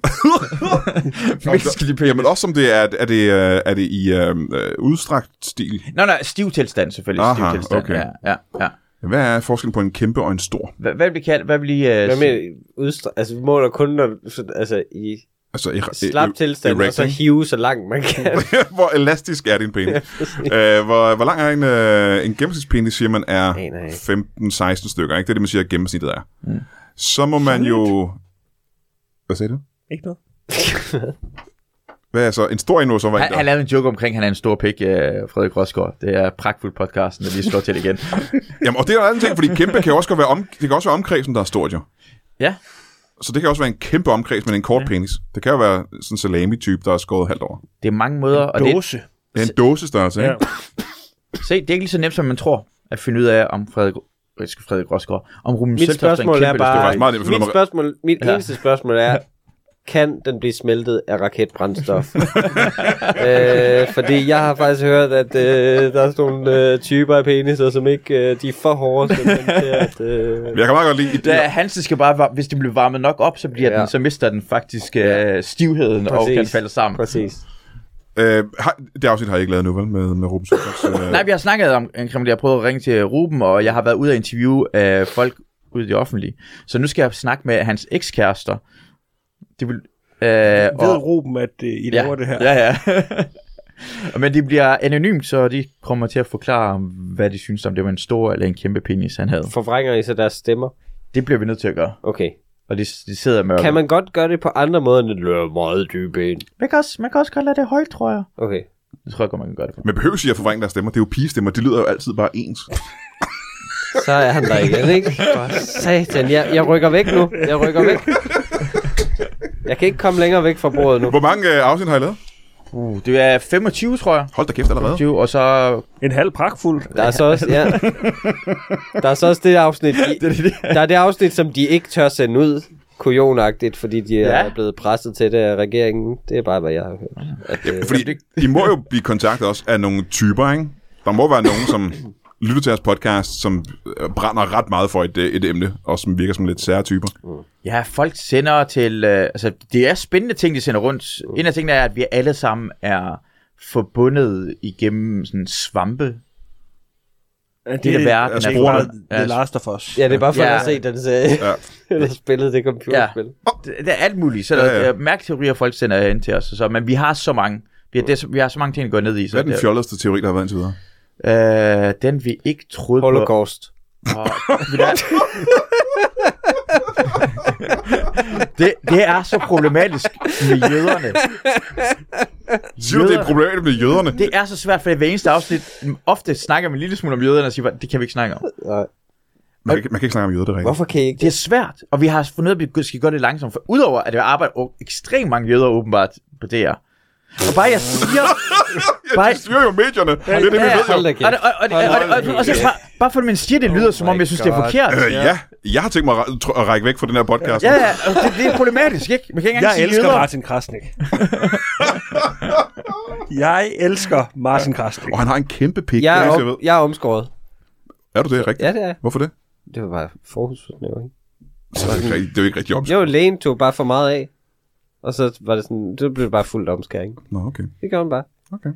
Menneskelig penis. Jamen også om det er, er det, øh, er det i øh, øh, udstrakt stil.
pik? Nå, nej, stiv tilstand selvfølgelig. Aha,
Aha,
stiv tilstand,
okay.
okay. ja, ja, ja.
Hvad er forskellen på en kæmpe og en stor?
Hvad, hvad vil vi kalde, hvad vil I... Øh,
Hvad
sige?
med udstra- altså, vi måler kun når, sådan, altså, i
Altså, i,
slap tilstand, altså. og så
erect,
hive så langt man kan.
ikke? hvor elastisk er din penis? øh, hvor, hvor lang er en, øh, en gennemsnitspenis, siger man, er
Aner jeg ikke.
15-16 stykker. Ikke? Det er det, man siger, at gennemsnittet er. Mm. Så må man jo... Hvad sagde du?
Ikke noget.
Hvad er så? En stor en nu, så var
Han,
en
han
der.
lavede en joke omkring, at han er en stor pik, øh, Frederik Rosgaard. Det er pragtfuldt podcasten, der lige slår til igen.
Jamen, og det er en anden ting, fordi kæmpe kan jo også godt være, om, det kan også være omkredsen, der er stort, jo.
ja,
Så det kan også være en kæmpe omkreds, men en kort ja. penis. Det kan jo være sådan en salami-type, der er skåret halvt over.
det er mange måder. Og det,
Dåse.
Det er en dåsestørrelse, ikke?
Ja.
Ja.
se, det er ikke lige så nemt, som man tror, at finde ud af, om Frederik, øh, skal Frederik Rosgaard, om Ruben
Mit
Søltoft er en
spørgsmål
kæmpe
er
eller stor
Det er faktisk
bare...
meget nemt at finde ud
Mit,
af-
spørgsmål, mit
Ja.
eneste spørgsmål er, kan den blive smeltet af raketbrændstof? øh, fordi jeg har faktisk hørt, at øh, der er sådan nogle øh, typer af peniser, som ikke øh, de er for hårde. simpelthen, til at, øh,
Men jeg kan meget godt lide
Det
idéer.
er, hans skal bare, var- hvis det bliver varmet nok op, så, bliver
Ja.
ja. den, så mister den faktisk øh, stivheden
Præcis.
og kan falde sammen.
præcis.
Øh, har, det afsnit har jeg ikke lavet nu, vel? Med, med Ruben Søltoft. øh,
Nej, vi har snakket om, omkring det. Jeg har prøvet at ringe til Ruben, og jeg har været ude at interviewe øh, folk ude i det offentlige. Så nu skal jeg snakke med hans ekskærester. Det vil, øh,
Ved Ruben, at øh, I laver det her?
Ja, ja. Men det bliver anonymt, så de kommer til at forklare, hvad de synes om det var en stor eller en kæmpe penis, han havde.
Forvrænger I så deres stemmer?
Det bliver vi nødt til at gøre.
Okay.
Og de, de sidder med...
Kan man godt gøre det på andre måder, end at løbe meget dybe ind?
Man, kan også, man kan også godt lade det højt, tror jeg.
Okay.
Det tror jeg godt, man kan gøre det på.
Men behøver I at forvrænge deres stemmer? Det er jo pigestemmer. Det lyder jo altid bare ens.
Så er han der igen, ikke? For satan, jeg, jeg rykker væk nu. Jeg rykker væk. Jeg kan ikke komme længere væk fra bordet nu.
Hvor mange øh, afsnit har I lavet?
Uh, det er 25, tror jeg.
Hold da kæft allerede.
25, og så...
En halv pragtfuld.
Der er så også, ja. Der er så også det afsnit, de, der er det afsnit, som de ikke tør sende ud kujonagtigt, fordi de ja. er
Ja.
blevet presset til det af regeringen. Det er bare, hvad jeg har hørt. At, øh,
Fordi I må jo blive kontaktet også af nogle typer, ikke? Der må være nogen, som lytter til jeres podcast, som øh, brænder ret meget for et, øh, et emne, og som virker som lidt sære typer.
Ja, folk sender til... Øh, altså, det er spændende ting, de sender rundt.
Mm.
En af tingene er, at vi alle sammen er forbundet igennem sådan svampe.
Det,
er verden,
Det er
altså,
ikke bare
brugeren.
The
Ja.
Last of Us.
ja, det er bare for
Ja.
at se den serie,
Ja.
eller spillet det computerspil. Ja.
Det, det er alt muligt. Så der,
Ja,
ja,
ja.
ja. mærketeorier, folk sender ind til os. Og så, men vi har så mange. Vi har, det, vi har så mange ting at gå ned i.
Mm.
Så
Hvad er den
det-
fjollerste teori, der har været indtil videre?
Øh, den vi ikke troede på.
Holocaust.
Det, det er så problematisk med jøderne.
Siger du, det er et problem med jøderne?
Det er så svært, for hver eneste afsnit, ofte snakker man en lille smule om jøderne og siger, det kan vi ikke snakke om.
Nej.
Man kan, ikke- man kan ikke snakke om jøder, det er rigtigt.
Hvorfor kan I ikke
Det er svært, og vi har fundet ud af, at vi skal gøre det langsomt, for udover at der arbejder o- ekstremt mange jøder åbenbart på DR. Og bare jeg siger...
Ja, de styrer jo medierne. Det er det, vi
Ja,
ved
Hold
jo.
da
Og, og,
kæft.
og, og, og, og, og, og så bare, bare fordi man siger, det lyder, som om jeg synes, det er forkert.
Øh, ja, jeg har tænkt mig at ra- tr- at række væk fra den her podcast.
Ja, ja, og det, det er problematisk, ikke? Man kan ikke engang
Jeg
sige
elsker
jøder.
Martin Krasnik. jeg elsker Martin Krasnik.
Og han har en kæmpe pik,
Jeg
det
er,
eneste, jeg ved.
om, jeg er omskåret.
Er du det rigtigt?
Ja, det er jeg.
Hvorfor det?
Det var bare forhudsfornævring.
Så er det, ikke rigtigt- det er jo ikke rigtig omskåret.
Jo, lægen tog bare for meget af. Og så var det sådan, det blev bare fuldt omskæring.
Nå, okay.
Det gjorde han bare.
Okay.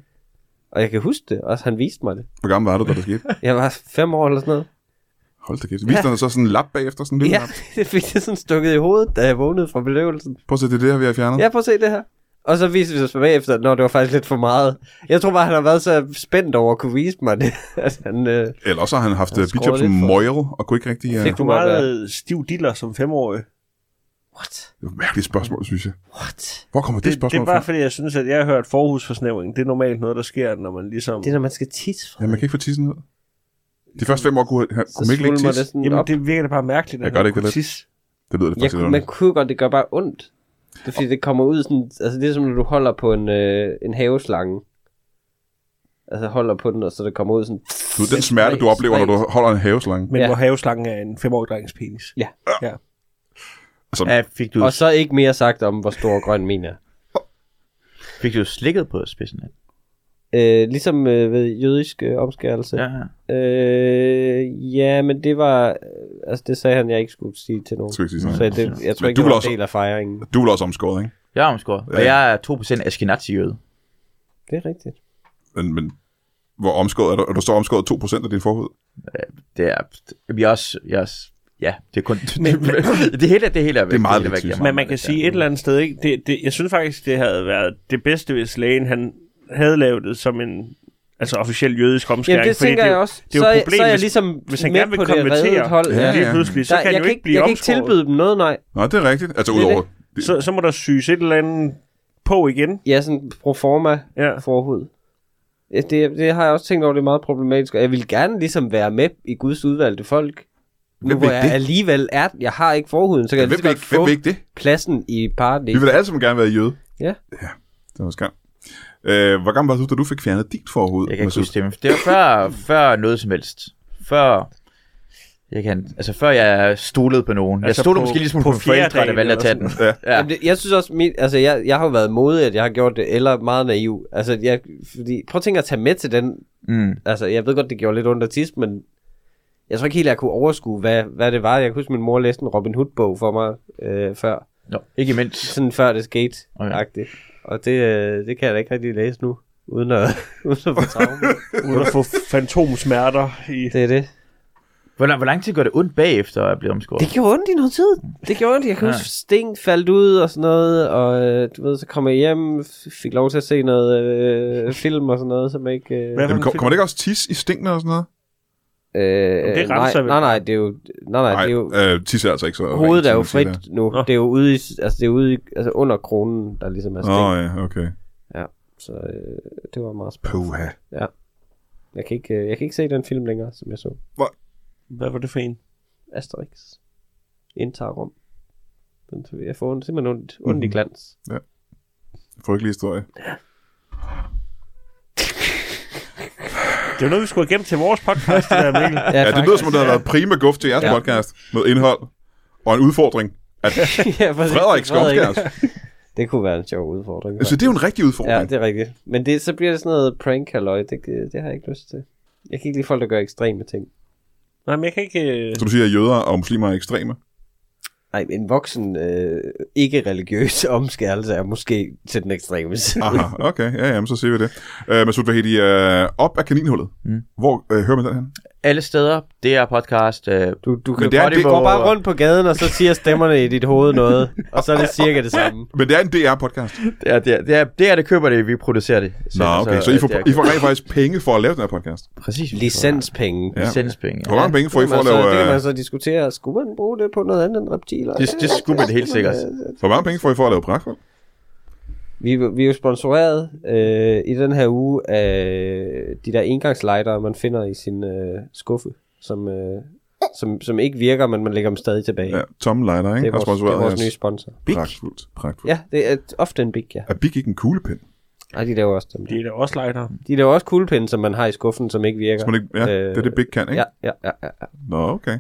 Og jeg kan huske det, og han viste mig det.
Hvor gammel var du, da det skete?
Jeg var fem år eller sådan noget.
Hold da kæft. Viste han så sådan en lap bagefter? Sådan en lille
Ja,
lap?
det fik jeg sådan stukket i hovedet, da jeg vågnede fra beløvelsen.
Prøv at se, det er det her, vi har fjernet.
Ja, prøv at se det her. Og så viste vi os bagefter, når det var faktisk lidt for meget. Jeg tror bare, han har været så spændt over at kunne vise mig det. at han, øh,
Eller også har han haft øh,
skruer
Bishop som
lidt for-
møjre, og kunne ikke rigtig... øh,
Fik
Du
du
er
meget...
meget stiv diller som femårig.
What?
Det var et mærkeligt spørgsmål, synes jeg.
What?
Hvor kommer det,
Det, det
spørgsmål
er bare
fra?
fordi, jeg synes, at jeg har hørt forhusforsnævring. Det er normalt noget, der sker, når man ligesom...
Det er, når man skal tisse fra.
Ja, man kan ikke få tissen ud. De første fem år kunne, han- kunne man ikke lægge tis.
det sådan
Jamen,
op.
det virker da bare mærkeligt, at
Jeg gør det ikke, det er
tis.
Det lyder det
Jeg,
faktisk lidt
kunne- man
underligt.
kunne godt, det gør bare ondt. Det er fordi, det kommer ud sådan... Altså, det er som, når du holder på en, øh, en haveslange. Altså, holder på den, og så det kommer ud sådan...
Du ved, Den smerte, du
Spredt-
oplever, når du holder en haveslange.
Men
Ja.
ja. hvor haveslangen er en femårig drengs penis.
Ja.
ja.
Ja, fik du,
Og så ikke mere sagt om, hvor stor grøn min er.
fik du slikket på spidsen? af?
Øh, ligesom øh, ved jødisk øh, omskærelse.
Ja, ja.
Øh, ja, men det var... øh, Altså, det sagde han, jeg ikke skulle sige til nogen.
Skal vi ikke sige
Så
sådan.
det, jeg tror
Men
ikke,
du
det var
vil
en
også-
del af fejringen.
Du er vel også omskåret, ikke?
Jeg er omskåret, og
Ja.
jeg er 2% askenazi-jøde.
Det er rigtigt.
Men, men hvor omskåret er du? Er du så omskåret 2% af din forhud?
Det er, vi er også, jeg er også, ja, det er kun, det hele, det hele er væk.
Det er meget
hele
vigtigt, synes jeg.
Men man kan sige et eller andet sted, ikke? Det, det, jeg synes faktisk, det havde været det bedste, hvis lægen han havde lavet det som en altså officiel jødisk omskæring.
Jamen, det
fordi
tænker
er
jeg
jo-
også.
Det er jo
så,
et
er-
problem,
så er jeg
hvis-
ligesom
hvis han
med
gerne vil
på det
konvertere,
reddede hold.
Ja,
lige
ja.
pludselig, så
Der,
kan
jeg,
du
kan
ikke blive
jeg kan ikke
omskåret.
tilbyde dem noget, nej.
Nej, det er rigtigt. Altså,
er
udover... det-
Så, så må der syges et eller andet på igen.
Ja, sådan pro forma
Ja.
forhud. Ja, Det, det har jeg også tænkt over, det er meget problematisk. Og jeg vil gerne ligesom være med i Guds udvalgte folk. Nu
Hvem
hvor
vil
jeg
det?
alligevel er, jeg har ikke forhuden, så kan jeg
Hvem
lige så
vil
godt
ikke, hvem
få
vil ikke det?
pladsen i
Vi
paradis.
vil da alle sammen gerne være jøde.
Ja.
Ja, det var skam. Øh, hvor gammel var du, da du fik fjernet dit forhud?
Jeg kan ikke
Masoud?
huske det, men det var før, før noget som helst. Før, jeg kan, altså før jeg stolede på nogen. Jeg
Altså
stolede
på-
måske lige
på
på, på forældre, der
fjerdedagen
valgte at tage
eller
den. Ja.
Jamen, det, jeg synes også, mit, altså jeg, jeg har jo været modig, at jeg har gjort det, eller meget naiv. Altså, jeg, fordi, prøv at tænke at tage med til den.
Mm.
Altså, jeg ved godt, det gjorde lidt ondt at tisse, men jeg tror ikke helt, jeg kunne overskue, hvad, hvad det var. Jeg kan huske, min mor læste en Robin Hood-bog for mig øh, før.
Nå, ikke imens.
Sådan før det skete,
Okay.
okay. Og det, øh, det kan jeg da ikke rigtig læse nu, uden at, uden at få travlt.
Uden at få fantomsmerter i...
Det er det.
Hvor, lang- hvor lang tid går det ondt bagefter at blive omskåret?
Det gjorde ondt i noget tid. Det gjorde ondt. Jeg kan
Ja.
huske, Sting faldt ud og sådan noget, og øh, du ved, så kom jeg hjem, f- fik lov til at se noget øh, film og sådan noget, som jeg ikke... Øh,
Hvad for
Jamen,
en
kom,
film?
kommer det ikke også tis i stinkene og sådan noget?
øh,
det
nej,
renser vel.
nej, nej, det er jo... Nej, nej, det er jo...
øh, tis er altså ikke så...
Hovedet er jo
rent, som man siger
frit nu.
Nå.
Det er jo ude i, altså det er ude i, altså under kronen, der ligesom er
der. Åh,
Sting.
ja, okay.
Så øh, det var meget spændende.
Puha.
Jeg kan, ikke, øh, jeg kan ikke se den film længere, som jeg så.
Hvad var det for en?
Asterix. Indtager rum. Den, jeg får en- simpelthen ondt, ondt i glans.
Frygtelig historie.
Det er jo noget, vi skulle have gemt til vores podcast, det der, Mikkel.
Ja,
Ja, det lyder som, om der har været prima guf til jeres
Ja.
ja. podcast. Noget indhold og en udfordring. At
ja, præcis.
Frederik Skovskjærs.
Det kunne være en sjov udfordring.
Så det er jo en rigtig
Ja,
udfordring.
det er rigtigt. Men det, så bliver det sådan noget prank halløj. Det, det har jeg ikke lyst til. Jeg kan ikke lide folk, der gør ekstreme ting.
Nej, men jeg kan ikke... Øh...
Så du siger, at jøder og muslimer er ekstreme.
Nej, en voksen, øh, ikke-religiøs omskærelse er måske til den ekstreme side.
Aha, okay. Ja, jamen, så siger vi det. Uh, Masoud Vahedi, uh, op af kaninhullet. Mm. Hvor uh, hører man den her?
Alle steder, det er podcast. Øh,
Du, du kan
det er-
godt,
det
du
går
går
bare
bare rundt på gaden, og så siger stemmerne i dit hoved noget, og så er det cirka det samme.
Men det er en DR-podcast.
det, er, det, er, det, er, det er det, køber det, vi producerer det.
Nå,
altså,
okay. Så I
øh,
får,
det er-
I får rent faktisk penge for at lave den her podcast.
Præcis.
Licenspenge.
Ja.
Licenspenge.
Hvor mange penge får I
Det kan
for
man
at
så,
lave...
det kan
øh,
man så diskutere. Skulle man bruge det på noget andet end reptiler?
Det, det skulle man helt sikkert.
Hvor mange penge får I for at lave brakhold?
Vi, vi er jo sponsoreret øh, i den her uge af de der engangslightere, man finder i sin øh, skuffe, som, øh, som, som ikke virker, men man lægger dem stadig tilbage.
Ja, Tom Leiter, ikke?
det er
Har
vores, det
sponsoreret
er vores
jeres-
nye sponsor.
Pragtfuldt, pragtfuldt.
Ja, det er ofte en big, ja.
Er Big ikke en kuglepind?
Ej, de laver også dem.
Det er da også lighter.
De laver også kuglepinde, som man har i skuffen, som ikke virker.
Skal man ikke, ja, øh, det er det Big kan, ikke?
Ja, ja, ja, ja. ja.
Nå, okay.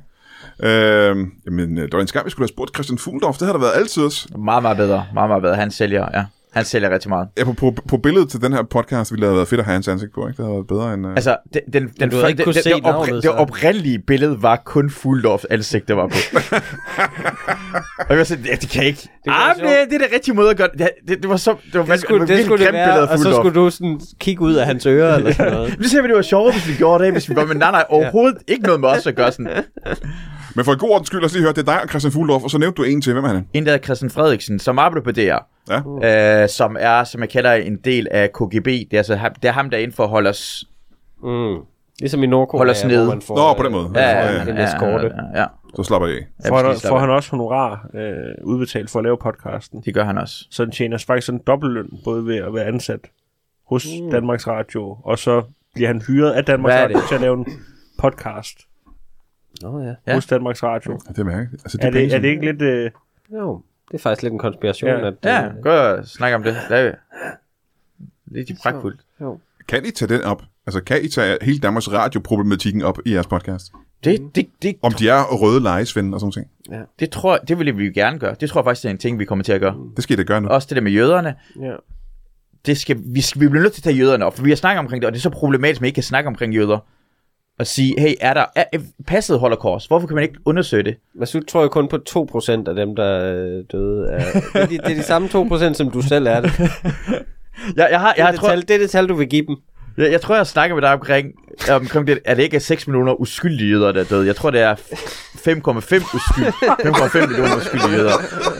Øhm, jamen, øh, det var en skam, vi skulle have spurgt Christian Fuglendorf. Det har der været altid os.
Meget, meget bedre. Meget, meget bedre. Han sælger, ja. Han sælger rigtig meget.
Ja, på, på, på billedet til den her podcast ville det have været fedt at have hans ansigt på, ikke? Det havde været bedre end... Øh... Altså,
Altså, den, den, den,
du havde ikke
den,
kunne
den,
se
det, opri-
navnet,
det
så.
oprindelige billede var kun Fuldorfs ansigt, der var på. og jeg var sådan, ja, det kan jeg ikke. Det,
være
ah, men
sjovt.
det, det er det rigtige måde at gøre det. Det, det, det var så... Det var
Det skulle det, skulle det være, og så skulle du sådan kigge ud af hans ører eller sådan noget.
Nu ser vi, det var sjovere, hvis vi gjorde det, hvis vi bare, men nej, nej, overhovedet ikke noget med os at gøre sådan.
Men for en god ordens skyld, lad os lige høre, det er dig og Christian Fuglendorf, og så nævnte du en til. Hvem er han?
En der hedder Christian Frederiksen, som arbejder på DR.
Ja.
Øh, som er, som jeg kalder en del af KGB. Det er, altså, ham- det er ham, der er inden for at holde os...
Mm. Ligesom i Nordkorea,
Hold os nede.
hvor man får...
Nå,
øh,
på den måde.
Ja,
Ja,
ja,
ja,
En eskorte.
ja, ja.
Så slapper jeg af.
Ja,
Får,
vi
han, får
skal slappe
han også honorar øh, udbetalt for at lave podcasten.
af. Det gør han også.
Så den tjener faktisk sådan en dobbeltløn, både ved at være ansat hos mm. Danmarks Radio, og så bliver han hyret af Danmarks
Hvad er
Radio
det?
til at lave en podcast
Nå ja.
Ja.
ja. hos Danmarks Radio.
Ja, det mærker jeg. Altså,
Er
penge,
det, er
som-
det ikke lidt... Øh,
Jo, det er faktisk lidt en konspiration,
Ja.
at...
Ja,
øh,
gå og snak om det. Det er rigtig pragtfuldt.
Jo.
Kan I tage den op? Altså, kan I tage hele Danmarks radioproblematikken op i jeres podcast?
Det, det, det,
Om de er røde lejesvende og sådan ting.
det, tror, det ville vi jo gerne gøre. Det tror jeg faktisk, det er en ting, vi kommer til at gøre.
Det skal I da gøre nu.
Også det der med jøderne.
ja.
Det skal, vi, skal, vi bliver nødt til at tage jøderne op, for vi har snakket omkring det, og det er så problematisk, at man ikke kan snakke omkring jøder. Og sige, hey, er der er, er passet holocaust? Hvorfor kan man ikke undersøge det?
Masud tror jo kun på 2% af dem, der øh, døde. Af... Det, er de, det er de samme 2%, som du selv er det. det,
Jeg, jeg, har, jeg,
er
jeg,
det,
tror,
tal, det er det tal, du vil give dem.
jeg, jeg tror, jeg snakker med dig omkring, omkring det, at det ikke er 6 millioner uskyldige jøder, der er døde. Jeg tror, det er 5,5 uskyld, 5,5 millioner uskyldige jøder.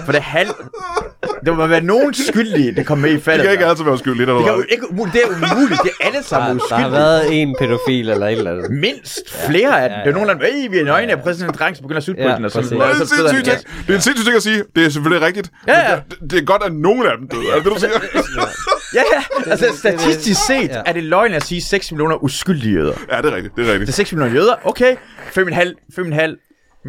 For det er halv... Der må være nogen skyldige, der kom med i
Det
faldet.
kan ikke
der.
altid være skyld lidt, eller
Det, kan
hvad?
jo ikke, umuligt. det er umuligt. Det er alle
Der,
sammen
der har
uskyldige.
været en pædofil eller et eller andet.
Mindst flere af dem. Det er nogen, der hey, vi er nøgne af præsident Drang, så begynder at sutte på
Ja,
den. Og så,
præcis.
så,
Det er en
så støder han
sindssyg ting.
igen.
Det er en sindssyg ting at sige. Det er selvfølgelig rigtigt.
Ja,
Men
ja.
Det, det er godt, at nogen af dem døde. Er det det, du siger?
Ja, ja. Altså, statistisk set
Ja.
er det løgn at sige 6 millioner uskyldige jøder.
ja, det er rigtigt. Det er
Det er
rigtigt.
6 millioner jøder. Okay. 5,5. 5,5.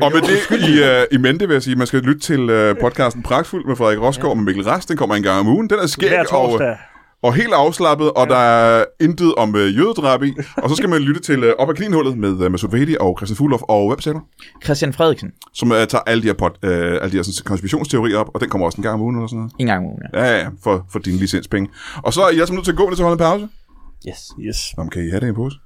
Og med det i, uh, i mente vil jeg sige, at man skal lytte til uh, podcasten Pragtfuld med Frederik Rosgaard og med Mikkel Rast. Den kommer en gang om ugen. Den er skæg
Hver
og, øh,
torsdag.
og helt afslappet, og der er intet om uh, jødedrab i. Og så skal man lytte til uh, Op ad Klinhullet med uh, Masoud Vahedi og Christian Fulof og hvem sagde du?
Christian Frederiksen.
som uh, tager alle de her, pot, uh, alle de her sådan, konspirationsteorier op, og den kommer også en gang om ugen eller sådan noget.
En gang om ugen, ja.
Ja, ja, ja, for, for dine licenspenge. Og så er I også nødt til at gå ned til at holde en pause.
Yes.
Yes.
Nå, men kan I have det i en pose?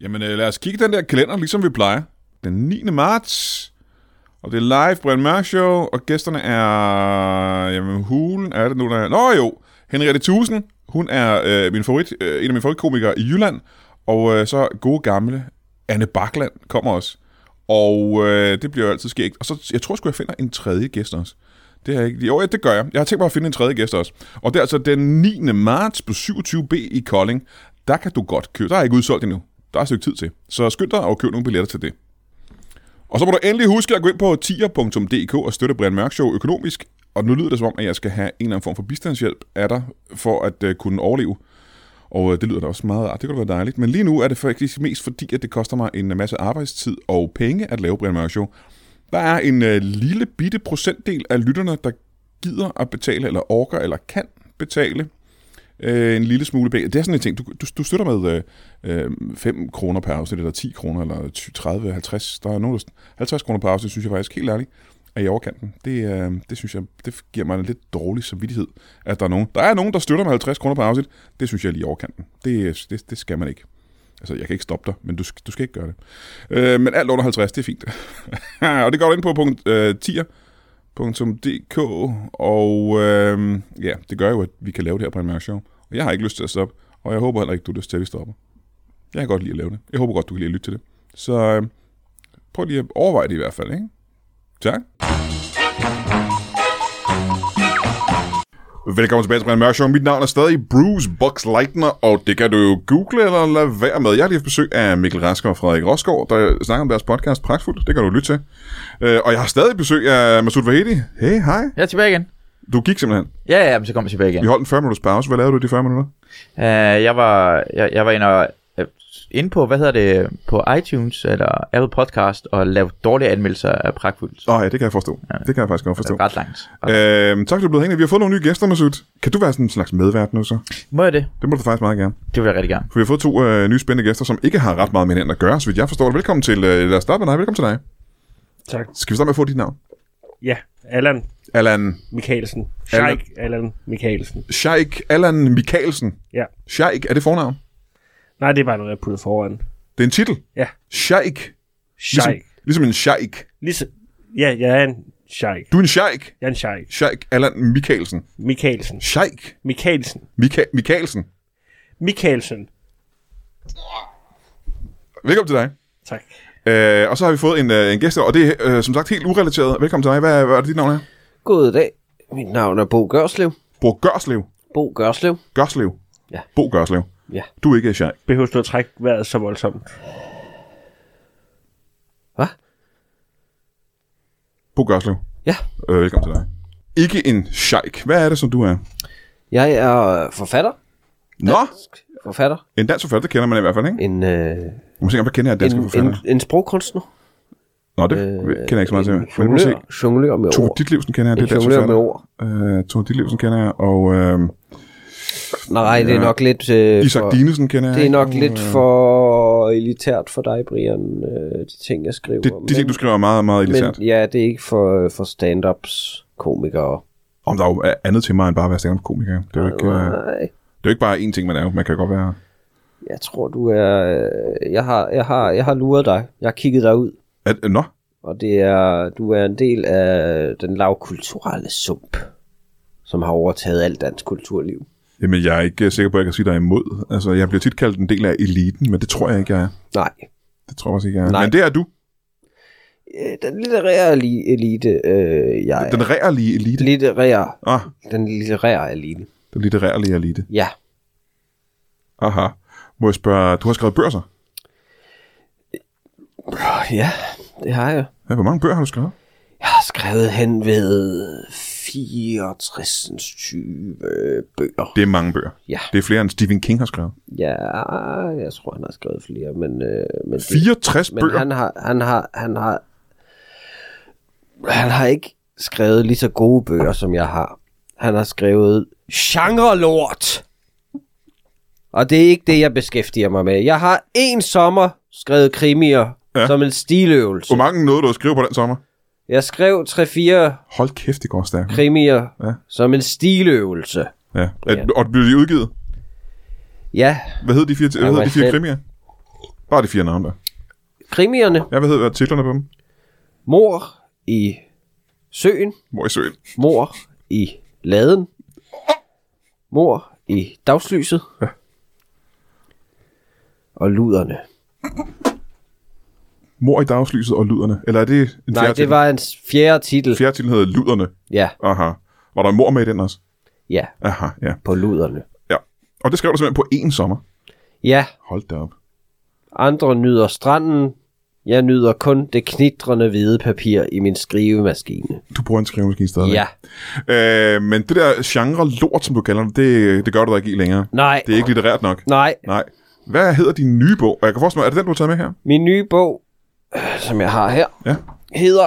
Jamen, øh, lad os kigge den der kalender, ligesom vi plejer. Den 9. marts. Og det er live Brian Mørk Show, og gæsterne er... Jamen, hulen er det nu, der er... Nå jo, Henriette Tusen. Hun er øh, min favorit, øh, en af mine favoritkomikere i Jylland. Og øh, så gode gamle Anne Bakland kommer også. Og øh, det bliver jo altid skægt. Og så, jeg tror sgu, jeg finder en tredje gæst også. Det har jeg ikke lige. Jo, ja, det gør jeg. Jeg har tænkt mig at finde en tredje gæst også. Og det er altså den 9. marts på 27B i Kolding. Der kan du godt købe. Der er ikke udsolgt endnu. Der er et stykke tid til. Så skynd dig og køb nogle billetter til det. Og så må du endelig huske at gå ind på tier.dk og støtte Brian Mørk Show økonomisk. Og nu lyder det som om, at jeg skal have en eller anden form for bistandshjælp af dig, for at øh, kunne overleve. Og øh, det lyder da også meget rart. Det kunne da være dejligt. Men lige nu er det faktisk mest fordi, at det koster mig en masse arbejdstid og penge at lave Brian Mørk Show. Der er en øh, lille bitte procentdel af lytterne, der gider at betale, eller orker, eller kan betale øh, en lille smule penge. Det er sådan en ting, du, du, du støtter med øh, øh, 5 kroner per afsnit, eller 10 kroner, eller 20, 30, 50. Der er nogen, der, 50 kroner per afsnit, synes jeg faktisk helt ærligt er i overkanten. Det, øh, det synes jeg, det giver mig en lidt dårlig samvittighed, at der er nogen, der er nogen, der støtter med 50 kroner per afsnit. Det synes jeg er lige i overkanten. Det, det, det skal man ikke. Altså, jeg kan ikke stoppe dig, men du, du skal ikke gøre det. Øh, men alt under 50, det er fint. og det går du ind på punkt øh, 10'er, .dk, og øh, ja, det gør jo, at vi kan lave det her på en mærke show. Og jeg har ikke lyst til at stoppe, og jeg håber heller ikke, du har lyst til, at vi stopper. Jeg kan godt lide at lave det. Jeg håber godt, du kan lide at lytte til det. Så øh, prøv lige at overveje det i hvert fald, ikke? Tak. Velkommen tilbage til Brian Mørk Show. Mit navn er stadig Bruce Box Leitner, og det kan du jo google eller lade være med. Jeg har lige haft besøg af Mikkel Rasker og Frederik Rosgaard, der snakker om deres podcast Pragtfuldt. Det kan du lytte til. Øh, Og jeg har stadig besøg af Masoud Vahedi. Hey, hej.
Jeg er tilbage igen.
Du gik simpelthen.
Ja, ja, men så kommer jeg tilbage igen.
Vi holdt en 40 minutters pause. Hvad lavede du i de 40 minutter?
Uh, jeg var, jeg, jeg var inde, og, uh, inde på, hvad hedder det, på iTunes eller Apple Podcast og lavede dårlige anmeldelser af Pragtfuldt.
Åh oh, ja, det kan jeg forstå. Ja. Det kan jeg faktisk godt forstå.
Det er ret langt. Øh.
Øhm, tak, fordi du er blevet hængende. Vi har fået nogle nye gæster, Masoud. Kan du være sådan en slags medvært nu så?
Må jeg det?
Det må du faktisk meget gerne.
Det vil jeg rigtig gerne.
For vi har fået to øh, nye spændende gæster, som ikke har ret meget med hinanden at gøre, så vidt jeg forstår det. Velkommen til, øh, lad os starte med dig. Velkommen til dig.
Tak.
Skal vi starte med at få dit navn?
Ja, Allan
Allan
Michaelsen.
Allan.
Sheik Allan Michaelsen.
Sheik Allan Michaelsen.
Ja.
Sheik, er det fornavn?
Nej, det er bare noget, jeg puttede foran.
Det er en titel?
Ja.
Sheik. Ligesom,
Sheik.
ligesom en sheik.
Ligesom, ja, jeg er en sheik.
Du er en sheik.
Jeg er en sheik.
Sheik Allan Michaelsen.
Michaelsen.
Sheik
Michaelsen.
Mika- Michaelsen.
Michaelsen.
Velkommen til dig.
Tak.
Øh, og så har vi fået en, øh, en gæst, og det er øh, som sagt helt urelateret. Velkommen til dig. Hvad, hvad er det, dit navn er?
God dag. Mit navn er Bo Gørslev.
Bror Gørslev.
Bo Gørslev.
Gørslev.
Ja.
Bo Gørslev.
Ja.
Du er ikke sheik.
Behøver du at trække vejret så voldsomt?
Hvad?
Bo Gørslev.
Ja.
Øh, velkommen til dig. Ikke en sheik. Hvad er det, som du er?
Jeg er øh, forfatter.
Nå,
Forfatter.
en dansk forfatter det kender man i hvert fald, ikke?
En, øh,
Du må se, om jeg kender jeg
en,
danske
en, øh,
forfatter.
en sprogkunstner.
Nå, det kender jeg ikke så meget til. Men du må se,
Jonglør. Jonglør med
Tove
ord.
Ditlevsen kender jeg, det
En
er dansk
jonglør med
forfatter.
ord.
Øh, Tove Ditlevsen kender jeg, og øh,
Nej, det er nok lidt... Øh,
Isak
for,
Dinesen kender jeg.
det er
ikke,
nok
og,
lidt
øh,
for elitært for dig, Brian, øh, de ting, jeg skriver.
Det, de ting, du skriver, er meget, meget elitært.
men, ja, det er ikke for, øh, for stand-ups komikere.
Om der er jo andet til mig, end bare at være stand-up-komiker. Det er jo ikke, øh,
Nej.
det er jo ikke bare én ting, man er. jo. Man kan godt være...
Jeg tror, du er... øh, Jeg har, jeg har, jeg har luret dig. Jeg har kigget dig ud.
At, øh, nå,
Og det er, du er en del af den lavkulturelle sump, som har overtaget alt dansk kulturliv.
jamen jeg er ikke øh, sikker på, at jeg kan sige dig imod. Altså, jeg bliver tit kaldt en del af eliten, men det tror jeg ikke, jeg er.
Nej,
Det tror jeg også ikke, jeg er.
Nej.
Men det er du.
øh, den litterære li- elite, øh, jeg er.
Den rærlige elite.
litterære,
Ah,
den litterære elite.
den litterærlige elite.
Ja,
Aha. Må jeg spørge, du har skrevet bøger så?
ja, det har jeg.
Ja, hvor mange bøger har du skrevet?
Jeg har skrevet hen ved 64 20 bøger.
Det er mange bøger.
Ja.
Det er flere, end Stephen King har skrevet.
Ja, jeg tror, han har skrevet flere, men... Øh, men
64
Men
bøger?
han har, han har, han har, han har ikke skrevet lige så gode bøger, som jeg har. Han har skrevet genre-lort. Og det er ikke det, jeg beskæftiger mig med. Jeg har en sommer skrevet krimier
Ja.
ja. Um- som en stiløvelse.
Hvor mange nåede du at skrive på den sommer?
Jeg skrev 3-4
Hold kæft, det går stærkt.
krimier
Ja.
ja. som en stiløvelse.
Ja.
Ja.
Og blev de udgivet?
Ja,
Hvad hed de fire, hvad
Jeg
hed
var
de fire
selv-
krimier? Bare de fire navne der.
krimierne.
Ja, hvad hedder titlerne på dem?
Mor i søen.
Mor i søen.
Mor i laden. Mor i dagslyset. Ja. Og luderne.
Mor i dagslyset og luderne. Eller er det en
Nej,
fjerde
det var hans fjerde titel.
titel? Fjerde titel hedder luderne.
Ja,
Aha. Var der en mor med i den også?
ja,
Aha, ja.
på luderne.
ja. Og det skrev du simpelthen på én sommer.
Ja,
Hold da op.
andre nyder stranden. Jeg nyder kun det knitrende hvide papir i min skrivemaskine.
Du bruger en skrivemaskine stadig.
Ja,
Øh, men det der genre lort, som du kalder det, det, det gør du da ikke i længere.
nej,
Det er ikke litterært nok.
nej.
Nej. Hvad hedder din nye bog? Og Jeg kan forestille mig, er det den, du har taget med her?
Min nye bog, øh, som jeg har her,
Ja.
hedder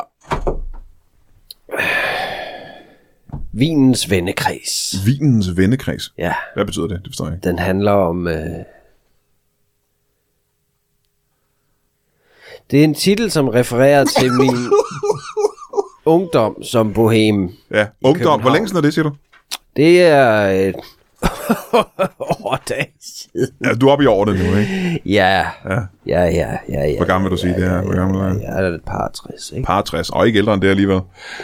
øh, Vinens vennekreds.
Vinens vennekreds.
Ja,
Hvad betyder det? Det forstår jeg ikke.
den handler om... Øh... Det er en titel, som refererer til min ungdom som bohem.
Ja, ungdom. Hvor
København.
længe siden er det, siger du?
Det er... Øh... Åh, det er siden.
Ja, du er oppe i årene nu, ikke?
ja,
Ja.
ja, ja, ja, ja.
Hvor gammel vil du sige, det er? Hvor gammel er han?
Jeg er lidt par 60, ikke?
Par 60, og ikke ældre end det alligevel.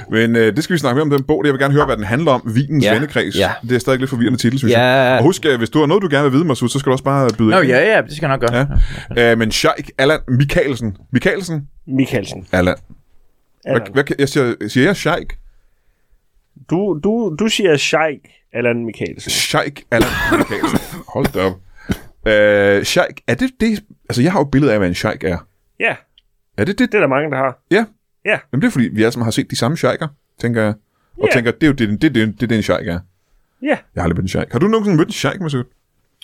Men øh, det skal vi snakke mere om den bog. Jeg vil gerne høre, hvad den handler om. Vinens ja.
Ja,
vennekreds. Ja.
ja.
Det er stadig lidt forvirrende titel, synes
Ja.
jeg. Og husk, øh, hvis du har noget, du gerne vil vide, Masud, så skal du også bare byde
Nå,
ind.
ja, ja, det skal jeg nok gøre.
Ja.
Ja.
Øh, men Sheik Allan Michaelsen. Michaelsen?
Mikkelsen.
Allan. Hvad,
Allan.
hvad, kan- jeg siger, siger jeg Sheik?
Du, du, du siger Sheik, Allan Mikkelsen.
Sheik Allan Michaelsen. Hold da op. Øh, Sheik, er det det... Altså, jeg har jo et billede af, hvad en sheik er.
Ja,
Er det det?
det er der mange, der har.
Ja.
Ja.
Jamen, det er fordi, vi alle sammen har set de samme sheiker, tænker jeg. Og
Ja.
tænker, det er jo det, det, det, det, det, det en sheik er.
Ja,
Jeg har aldrig mødt en sheik. Har du nogensinde mødt en sheik, Masud?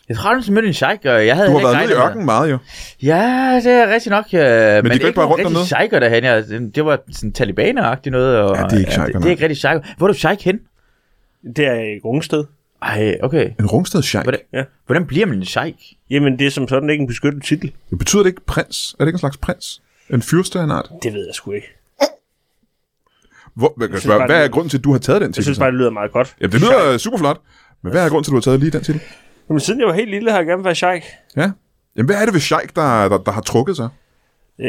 Jeg tror, du mødte en sheik, og jeg havde
Du har
heller
været
ikke
nede i ørkenen
regnet med-
meget, jo.
Ja, det er rigtigt nok. Øh, men,
går ikke bare rundt dernede?
Shiker derhen. Ja, altså. det, det var sådan talibaner-agtigt noget. Og,
Ja, det er ikke shiker,
det, det,
nej.
er ikke rigtig shiker. Hvor er du shiker hen?
det er i Rungsted.
Ej, okay.
En rungsted sheik.
Hvordan,
Ja.
ja. hvordan bliver man en sheik?
Jamen, det er som sådan ikke en beskyttet titel.
Det betyder det ikke prins? Er det ikke en slags prins? En fyrste af en art?
Det ved jeg sgu ikke.
Hvor, hvad,
synes
hvad,
bare,
hvad er
det-
grunden til, at du har taget den
Jeg
titel?
synes bare, det lyder meget godt.
så? Jamen, det lyder super flot. Men hvad er grunden til, at du har taget lige den titel?
Jamen, siden jeg var helt lille, har jeg gerne været Sheik.
Ja. Jamen, hvad er det ved sheik, der, der, der har trukket sig?
Øh,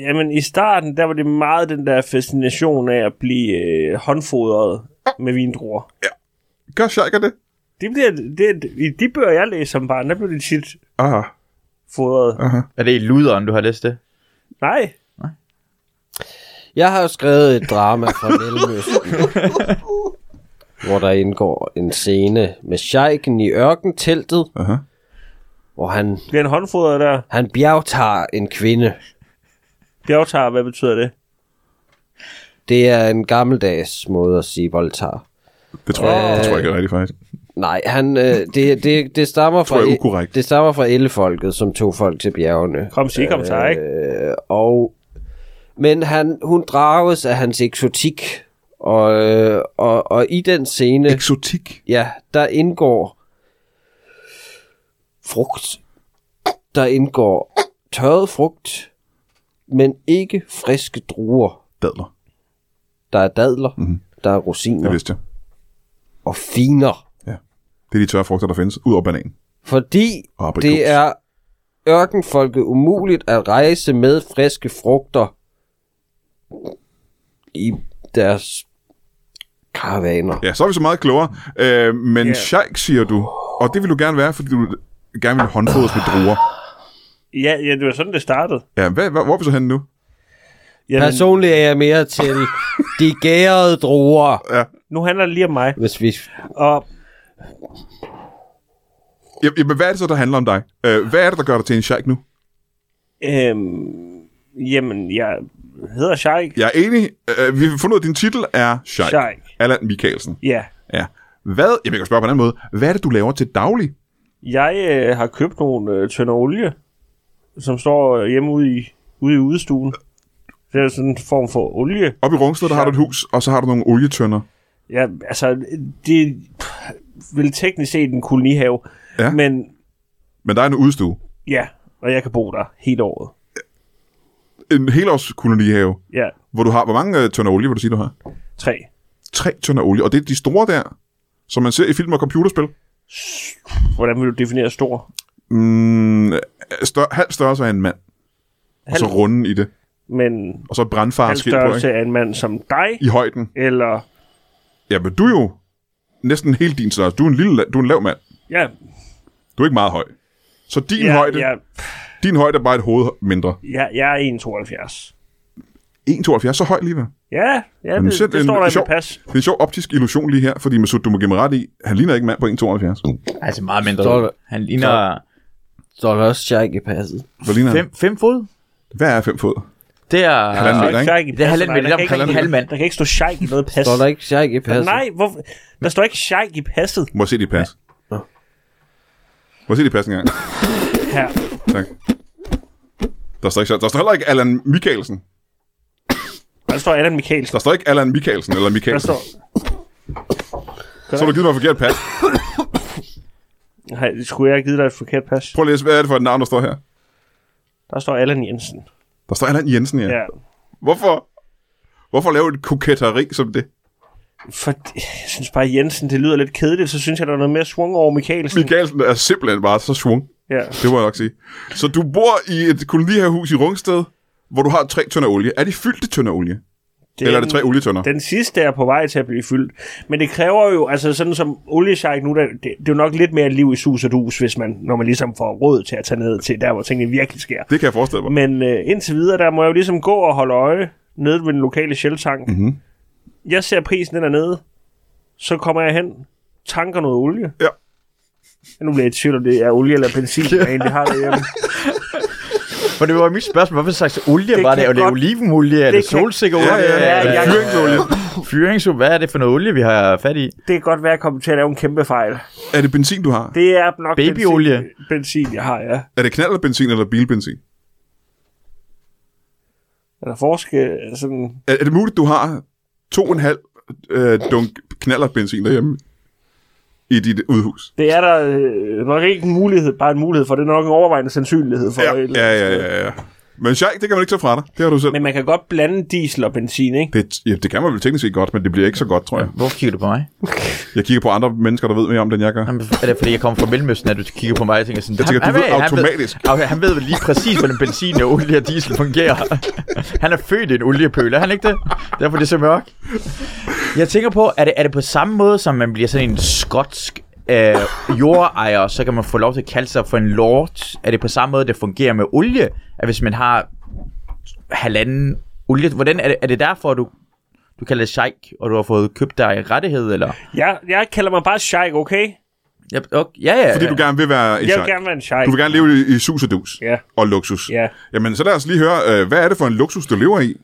jamen, i starten, der var det meget den der fascination af at blive øh, håndfodret med vindruer.
Gør sheiker det?
Det bliver, det, I de bøger, jeg læste som barn, der blev det tit
Aha,
fodret.
aha.
Er det i luderen, du har læst det?
Nej,
Jeg har jo skrevet et drama fra Mellemøsten, hvor der indgår en scene med sheiken i ørkenteltet,
Aha.
hvor han,
bliver en håndfodret der.
han bjergtager en kvinde.
Bjergtager, hvad betyder det?
Det er en gammeldags måde at sige voldtager.
Det tror, jeg, det tror jeg
Øh,
ikke er rigtigt, faktisk.
Nej, han, øh, det, det, det, stammer
Tror jeg er
fra, e-
ukorrekt.
det stammer fra ellefolket, som tog folk til bjergene.
Kom sig, kom sig, ikke?
Øh, og, men han, hun drages af hans eksotik, og, øh, og, og i den scene...
Eksotik.
Ja, der indgår frugt. Der indgår tørret frugt, men ikke friske druer.
Dadler.
Der er dadler,
Mhm.
mm-hmm. der er
Det
rosiner
vidste jeg.
og finer.
Det er de tørre frugter, der findes. Ud over bananen.
Fordi
Og aprikos.
det er ørkenfolket umuligt at rejse med friske frugter i deres karavaner.
Ja, så er vi så meget klogere. Øh, men
Ja.
yeah. sheik, siger du. Og det vil du gerne være, fordi du gerne vil håndfodres med druer.
Ja, ja, det var sådan, det startede.
Ja, hvad, hvad, hvor er vi så henne nu?
Jamen,
Personligt er jeg mere til de gærede druer,
nu handler det lige om mig.
hvis vi
Og
Jamen, jamen, hvad er det så, der handler om dig? Øh, hvad er det, der gør dig til en sheik nu?
øhm, jamen, jeg hedder Sheik.
Jeg er enig. Øh, vi har fundet ud af, at din titel er sheik.
Sheik.
Allan Michaelsen.
Ja,
Ja. Hvad, jamen, jeg kan spørge på en anden måde. Hvad er det, du laver til daglig?
jeg øh, har købt nogle øh, tønder olie, som står øh, hjemme ude i, ude i udestuen. Det er sådan en form for olie.
Oppe i Rungsted, der har du et hus, og så har du nogle olietønder.
Ja, altså, det pff, vil teknisk set en kolonihave.
Ja.
Men
Men der er en udstue.
ja, og jeg kan bo der hele året.
En helårskolonihave,
Ja,
hvor du har... Hvor mange øh, tønder olie, vil du sige, du har?
tre.
Tre tønder olie. Og det er de store der, som man ser i film og computerspil.
Hvordan vil du definere stor?
Mm, stør, halv størrelse af en mand. Og så
Halv-
runden i det.
Men
Og så et brandfars
halv
skilt på,
størrelse
ikke?
af en mand som dig,
I højden.
eller...
Ja, men du er jo næsten helt din størrelse. Du er en, lille, du er en lav mand.
Ja,
Du er ikke meget høj. Så din,
ja,
højde,
ja,
din højde er bare et hoved mindre.
ja, jeg er 1,72.
1,72, så høj alligevel.
Ja, ja
Men
det,
selv
det
en
står der i
sjov-
mit pas.
Det er en sjov optisk illusion lige her, fordi Masud, du må give mig ret i, han ligner ikke en mand på 1,72.
Altså meget
Stol-
mindre. Han ligner
står der også Shaik i passet.
Hvad ligner han?
fem, fem fod.
Hvad er 5 fod?
Det er...
Halvanden meter, ikke?
Sheik i
Det er halvanden
passet, nej,
meter, det
der
er
kan
omkring
ikke-
en halv mand.
Der kan ikke stå sheik i noget pas.
Står der ikke Shaik i passet?
Nej, hvorfor? Der står ikke sheik i passet
Må jeg se dit pas? Må jeg se dit pas engang?
her.
Tak. Der står, ikke, der står heller ikke Allan Mikkelsen.
Der står Allan Michaelsen.
Der står ikke Allan Mikkelsen eller
Der
Mikkelsen.
står...
Så har du givet mig et forkert pas.
Nej, skulle jeg have givet dig et forkert pas?
Prøv at læse, hvad er det for et navn, der står her?
Der står Allan Jensen.
Der står Allan Jensen, ja.
Ja.
Hvorfor? Hvorfor lave et koketteri som det?
For jeg synes bare, Jensen, det lyder lidt kedeligt, så synes jeg, der er noget mere swung over Mikkelsen.
Michaelsen er simpelthen bare så svung.
Ja.
Det må jeg nok sige. Så du bor i et kolonihavehus i Rungsted, hvor du har tre tønder olie. Er de fyldte tønder olie?
Den,
Eller er det tre olietønder?
Den sidste er på vej til at blive fyldt. Men det kræver jo, altså sådan som oliesjejk nu, der, det, det, er jo nok lidt mere liv i sus og dus, hvis man, når man ligesom får råd til at tage ned til der, hvor tingene virkelig sker.
Det kan jeg forestille mig.
Men øh, indtil videre, der må jeg jo ligesom gå og holde øje nede ved den lokale sjeltank.
Mhm.
Jeg ser prisen den er nede, så kommer jeg hen, tanker noget olie.
Ja.
Nu bliver jeg i tvivl, om det er olie eller benzin, jeg egentlig har derhjemme.
For det var mit spørgsmål, hvorfor slags olie
Det
det var det?
kan
Er det
godt-
olivenolie? Er
det
det
kan-
solsikkeolie?
Ja, ja, ja.
Er det
jeg-
Fyringsolie.
fyr- fyringsolie? Hvad er det for noget olie, vi har fat i?
Det kan godt være, at jeg kommer til at lave en kæmpe fejl.
Er det benzin, du har?
Det er nok
Babyolie.
Benzin, benzin, jeg har, ja.
Er det knalderbenzin eller bilbenzin?
Er der forskel? Sådan,
Er, er det muligt, du har to og en halv øh, dunk knalderbenzin derhjemme i dit udhus?
det er der øh, nok ikke en mulighed, bare en mulighed for. Det er nok en overvejende sandsynlighed for.
Ja,
et eller
ja,
andet
ja,
sted.
ja, ja. Men sjejk, det kan man ikke tage fra dig. Det har du selv.
Men man kan godt blande diesel og benzin, ikke?
Det, ja, det kan man vel teknisk set godt, men det bliver ikke så godt, tror jeg.
Hvorfor kigger du på mig?
Jeg kigger på andre mennesker, der ved mere om det, end jeg gør.
Jamen, Er det fordi, jeg kommer fra Mellemøsten, at du kigger på mig og tænker sådan...
Jeg tænker, du ved automatisk.
Han ved, okay, han ved vel lige præcis, hvordan benzin og olie og diesel fungerer. Han er født i en oliepøl, er han ikke det? Derfor er det så mørkt. Jeg tænker på, er det, er det på samme måde, som man bliver sådan en skotsk øh, jordejer, så kan man få lov til at kalde sig for en lord? Er det på samme måde, det fungerer med olie? At hvis man har halvanden olie... Hvordan er det, er det derfor, du du kalder det sheik, og du har fået købt dig rettighed, eller?
Jeg, jeg kalder mig bare sheik, okay?
Ja, okay. ja, ja.
Fordi
ja.
du gerne vil være en
Jeg
sjejk.
vil gerne være en sheik.
Du vil gerne leve i, i sus og dus
Ja.
og luksus.
Ja.
Jamen, så lad os lige høre, øh, hvad er det for en luksus, du lever i?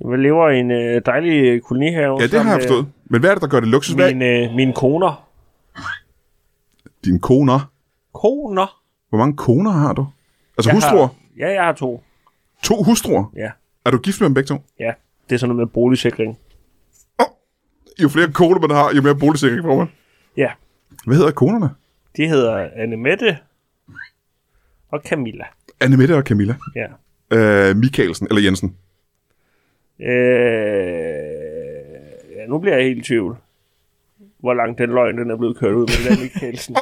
Jeg lever i en øh, dejlig øh, kolonihave.
Ja, det har jeg forstået. Men hvad er det, der gør det luksus? Hvad?
Min, øh, mine koner.
Dine koner.
Koner?
Hvor mange koner har du? Altså
Jeg
hustruer?
Har, ja, jeg har to.
To hustruer?
Ja,
Er du gift med dem begge to?
ja. Det er sådan noget med boligsikring.
Jo flere koner man har, jo mere boligsikring får man.
Ja,
Hvad hedder konerne?
de hedder Annemette og Camilla.
Annemette og Camilla.
Ja.
Øh, Michaelsen, eller Jensen.
Øh, ja, nu bliver jeg helt i tvivl. Hvor langt den løgn, den er blevet kørt ud med den der Michaelsen.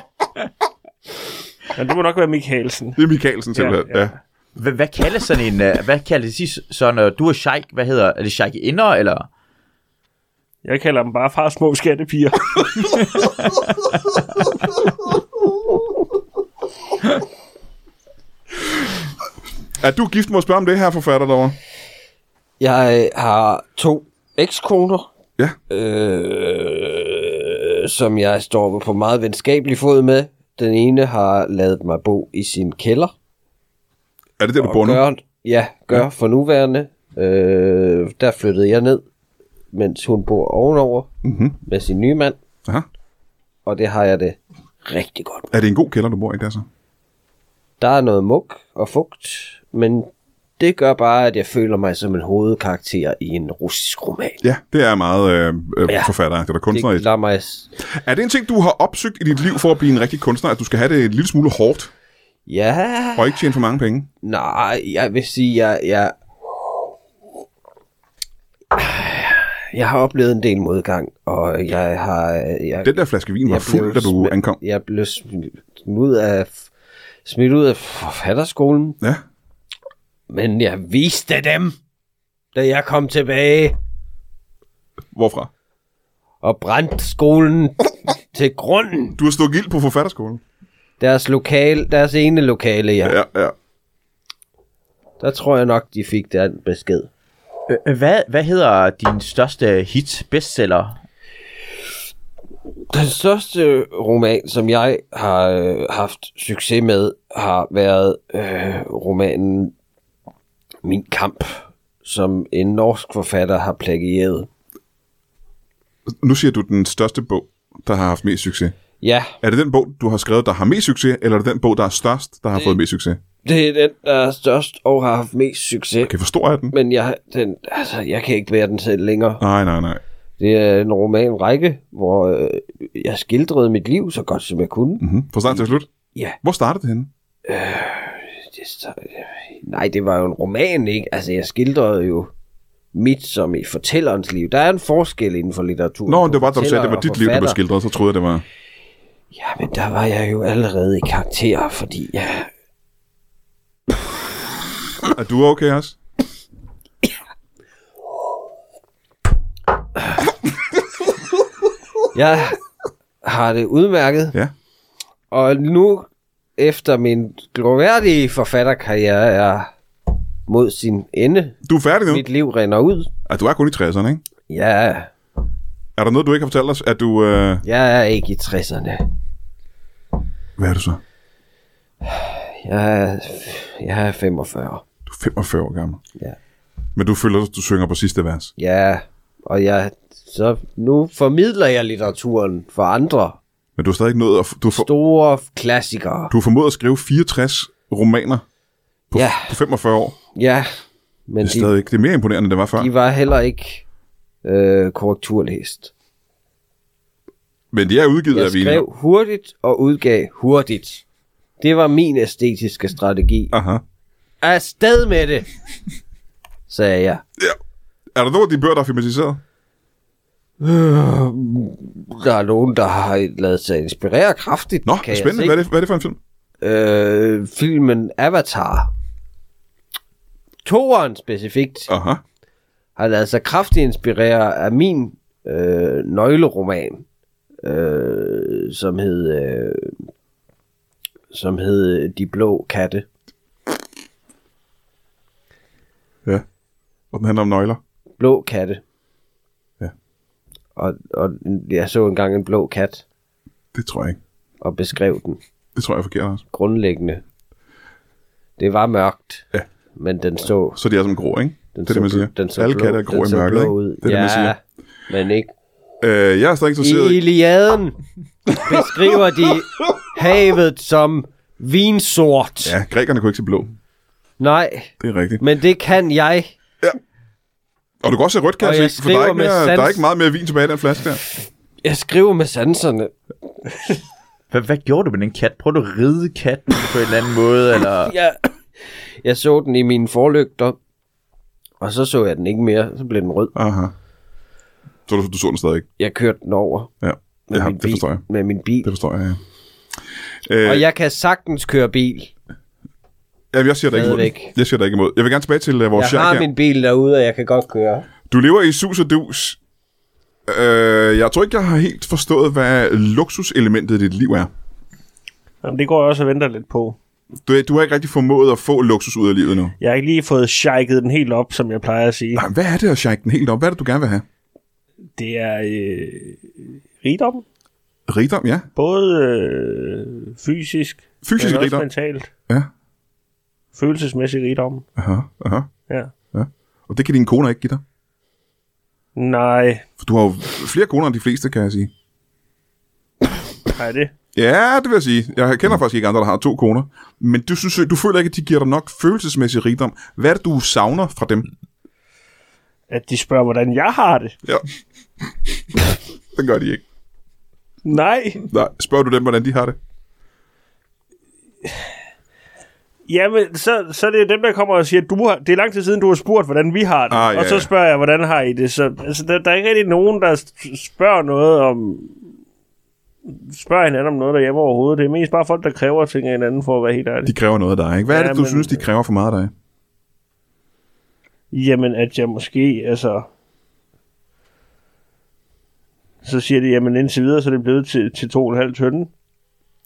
Men det må nok være Michaelsen.
Det er Michaelsen simpelthen, ja.
ja.
ja.
Hvad, hvad kaldes sådan en, øh, hvad kaldes de s- så, når du er sheik, hvad hedder, er det sheik inder, eller?
Jeg kalder dem bare far små skattepiger.
Er du gift, må jeg spørge om det her, forfatter derovre?
Jeg øh, har to ekskoner.
Ja.
Øh, som jeg står på meget venskabelig fod med. Den ene har lavet mig bo i sin kælder.
Er det der, du bor nu?
Gør, ja, gør ja. for nuværende. Øh, der flyttede jeg ned, mens hun bor ovenover
Mm-hmm.
med sin nye mand.
Aha.
Og det har jeg det rigtig godt. med.
Er det en god kælder, du bor i der så?
Der er noget muk og fugt, men det gør bare, at jeg føler mig som en hovedkarakter i en russisk roman.
Ja, det er meget øh, øh,
Ja.
forfatter. Det er da kunstner.
Det lader mig s-
Er det en ting, du har opsøgt i dit liv for at blive en rigtig kunstner, at du skal have det en lille smule hårdt
Ja,
og ikke tjene for mange penge?
nej, jeg vil sige, jeg, jeg, jeg har oplevet en del modgang, og jeg har... Jeg,
Den der flaske vin var
jeg
fuld,
blev
da du
smi-
ankom.
Jeg blev smidt ud af, smidt ud af forfatterskolen,
Ja.
men jeg viste dem, da jeg kom tilbage
Hvorfra?
og brændte skolen til grunden.
Du har stået gild på forfatterskolen.
Deres, lokal, deres ene lokale, ja.
Ja, ja.
Der tror jeg nok, de fik den besked.
Øh, Hvad, hvad hedder din største hit, bestseller?
Den største roman, som jeg har øh, haft succes med, har været øh, romanen Min Kamp, som en norsk forfatter har plagieret.
Nu siger du den største bog, der har haft mest succes.
Ja,
Er det den bog, du har skrevet, der har mest succes, eller er det den bog, der er størst, der har fået mest succes?
det er den, der er størst og har haft mest succes.
Okay, forstår jeg den?
Men jeg, den, altså, jeg kan ikke være den selv længere.
Nej, nej, nej.
Det er en roman række, hvor øh, jeg skildrede mit liv så godt som jeg kunne.
Mm-hmm. Fra start til slut.
Ja.
Hvor startede det henne?
Det, så, øh, nej, det var jo en roman, ikke? Altså, jeg skildrede jo mit som i fortællerens liv. Der er en forskel inden for litteratur.
Nå, det var bare, da du sagde, det var dit liv, der blev skildret, så troede jeg, det var...
Ja, men der var jeg jo allerede i karakter, fordi jeg...
Er du okay også?
Jeg har det udmærket.
Ja.
Og nu, efter min gloværdige forfatterkarriere er mod sin ende,
Du er færdig nu.
mit liv render ud.
Ah, du er kun i 60'erne, ikke?
Ja,
Er der noget, du ikke har fortalt os? Er du... Øh...
jeg er ikke i 60'erne.
Hvad er du så?
Jeg er, jeg er 45.
Du er 45 år gammel.
Ja.
Men du føler, at du synger på sidste vers.
Ja, og jeg, så nu formidler jeg litteraturen for andre
Men du har stadig ikke nået at... f- Du har, for...
store klassikere.
du har formået at skrive 64 romaner på,
Ja.
på 45 år.
Ja, men
Det er
de,
stadig ikke... Det er mere imponerende, end det var før.
de var heller ikke øh, korrekturlæst.
Men de er udgivet
Jeg
af Vina.
skrev hurtigt og udgav hurtigt. Det var min æstetiske strategi.
Aha.
Afsted med det, sagde jeg.
Er der nogen af de bøger, der er filmatiseret?
Der er nogen, der har ladet sig inspirere kraftigt.
Nå,
kan jeg
spændende.
se.
Hvad er, det, hvad er det for en film?
øh, filmen Avatar. Toeren specifikt
Aha.
har lavet sig kraftigt inspirere af min øh, nøgleroman, øh, som hed, øh, som hed øh, De Blå Katte.
Ja. Og den handler om nøgler.
Blå katte.
Ja.
Og, og jeg så engang en blå kat
Det tror jeg ikke.
og beskrev den
Det tror jeg er forkert også.
grundlæggende. Det var mørkt,
Ja.
men den så
Så de er som grå, ikke?
Den
det er det, man
blå-
siger.
Den så
Alle
blå,
katte er grå
den
i
så
mørket,
blå
ikke?
ud.
Det er det, man siger.
ja, men ikke.
Øh, jeg er stadig interesseret
I
i...
Iliaden beskriver de havet som vinsort. Ja.
Ja, grækerne kunne ikke se blå.
Nej,
Det er rigtigt.
men det kan jeg.
Og du kan også se rødt, kan
Og
jeg
jeg
se, for der er,
skriver
ikke
med
mere,
sans.
der er ikke meget mere vin tilbage i den flaske der.
Jeg skriver med sanserne.
Hvad, hvad gjorde du med den kat? Prøvede du at ride katten på en eller anden måde? Eller?
Jeg, jeg så den i mine forlygter, og så så jeg den ikke mere. Så blev den rød.
Aha. Så du, du så den stadig ikke?
Jeg kørte den over
Ja,
med,
ja
min,
det
bil,
forstår jeg.
med min
Det
bil.
forstår jeg, ja. Øh,
Og
jeg,
jeg kan sagtens køre bil.
jamen, jeg siger dig ikke imod.
stadigvæk.
den. Jeg siger dig ikke imod. Jeg vil gerne tilbage til uh, vores
Jeg
jeg
har
her.
min bil derude, og jeg kan godt køre.
Du lever i sus og dus. Øh, jeg tror ikke, jeg har helt forstået, hvad luksuselementet i dit liv er.
Jamen, det går jeg også og venter lidt på.
Du, du har ikke rigtig formået at få luksus ud af livet nu.
Jeg har ikke lige fået shaket den helt op, som jeg plejer at sige.
Nej, hvad er det at shake den helt op? Hvad er det, du gerne vil have?
Det er øh, rigdom,
Rigdom, ja.
både øh, fysisk,
Fysisk
men også
rigdom.
mentalt,
Ja.
følelsesmæssig rigdom.
Aha, aha.
Ja.
Og det kan dine koner ikke give dig.
Nej,
For du har jo flere koner end de fleste, kan jeg sige.
nej det.
Ja, det vil jeg sige. Jeg kender faktisk ikke andre, der har to koner. Men du, synes, du føler ikke, at de giver dig nok følelsesmæssig rigdom. Hvad er det, du savner fra dem?
At de spørger, hvordan jeg har det.
Ja. det gør de ikke.
Nej.
Nej, spørger du dem, hvordan de har det?
Jamen, så, så er det er dem, der kommer og siger, at du har, det er lang tid siden, du har spurgt, hvordan vi har det.
Ah, ja,
og så
ja.
spørger jeg, hvordan har I det? Så, altså, der, der er ikke rigtig nogen, der s- spørger noget om spørger hinanden om noget derhjemme overhovedet. Det er mest bare folk, der kræver ting af hinanden, for at være helt ærlig.
De kræver noget af dig, ikke? Hvad er
Ja,
det, du
men-
synes, de kræver for meget af dig?
Jamen, at jeg måske, altså... Så siger de, jamen indtil videre, så er det blevet til, til to og en halv tønde.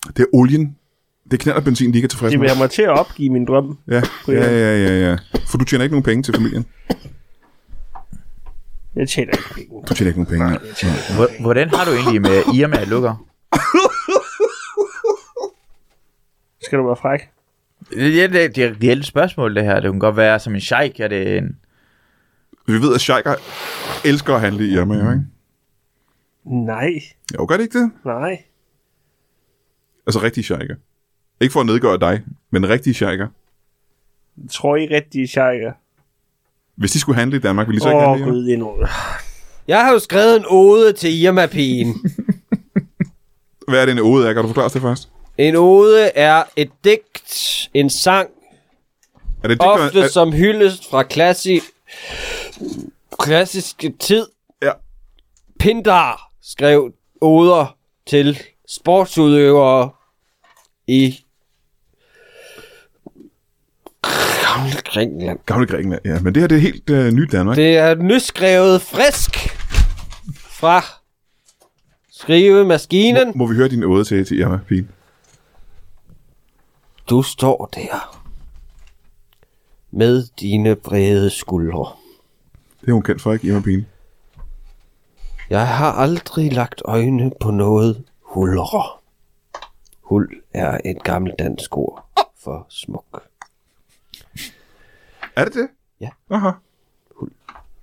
Det er olien. Det er knald og benzin, de ikke er tilfredse
De vil
med.
have mig til at opgive min drøm.
Ja, ja, ja, ja, ja. For du tjener ikke nogen penge til familien.
Jeg tjener ikke penge.
Du tjener ikke nogen penge. nej.
Hvor- Hvordan har du egentlig med Irma lukker?
Skal du være fræk?
Ja, det, det er et reelt spørgsmål, det her. Det kunne godt være som en sheik. Er det en...
Vi ved, at sheiker elsker at handle i Irma, jo, ikke?
Nej,
Jo, gør det ikke det?
nej.
Altså rigtige sheiker. Ikke for at nedgøre dig, men rigtige sheiker.
Jeg tror I rigtige shaker?
Hvis de skulle handle i Danmark, ville de så
Åh,
ikke
oh,
handle i Irma?
gud, endnu.
Jeg har jo skrevet en ode til Irma-pigen.
Hvad er det, en ode er? Kan du forklare os det først?
En ode er et digt, en sang,
Er det et digt,
ofte
eller- er,
som hyldest fra klassi... klassiske tid.
Ja.
Pindar skrev oder til sportsudøvere i gamle Grækenland.
Gamle Grækenland, ja. Men det her, det er helt øh, nyt Danmark. Det...
Det er nyskrevet frisk fra skrivemaskinen.
Må vi høre din ode til, til Irma, pigen?
Du står der med dine brede skuldre.
Det er hun kendt for, ikke? Irma, pigen.
Jeg har aldrig lagt øjne på noget hullere. Hul er et gammelt dansk ord for smuk.
Er det det?
Ja.
Aha. Hul.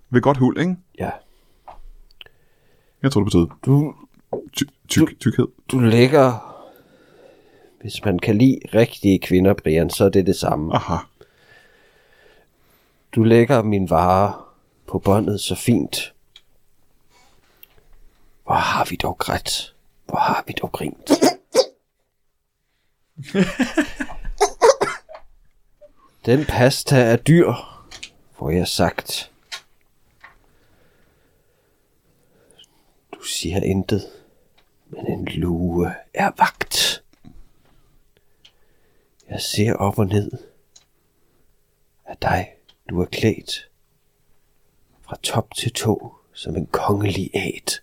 Ved godt hul, ikke?
Ja,
Jeg tror, det betød
du,
ty- tyk, tykhed.
du lægger... Hvis man kan lide rigtige kvinder, Brian, så er det det samme.
Aha.
Du lægger min vare på båndet så fint. Hvor har vi dog grædt? Hvor har vi dog grint? Den pasta er dyr, får jeg sagt. Du siger intet, men en lue er vagt. Jeg ser op og ned af dig, du er klædt fra top til tå som en kongelig æt.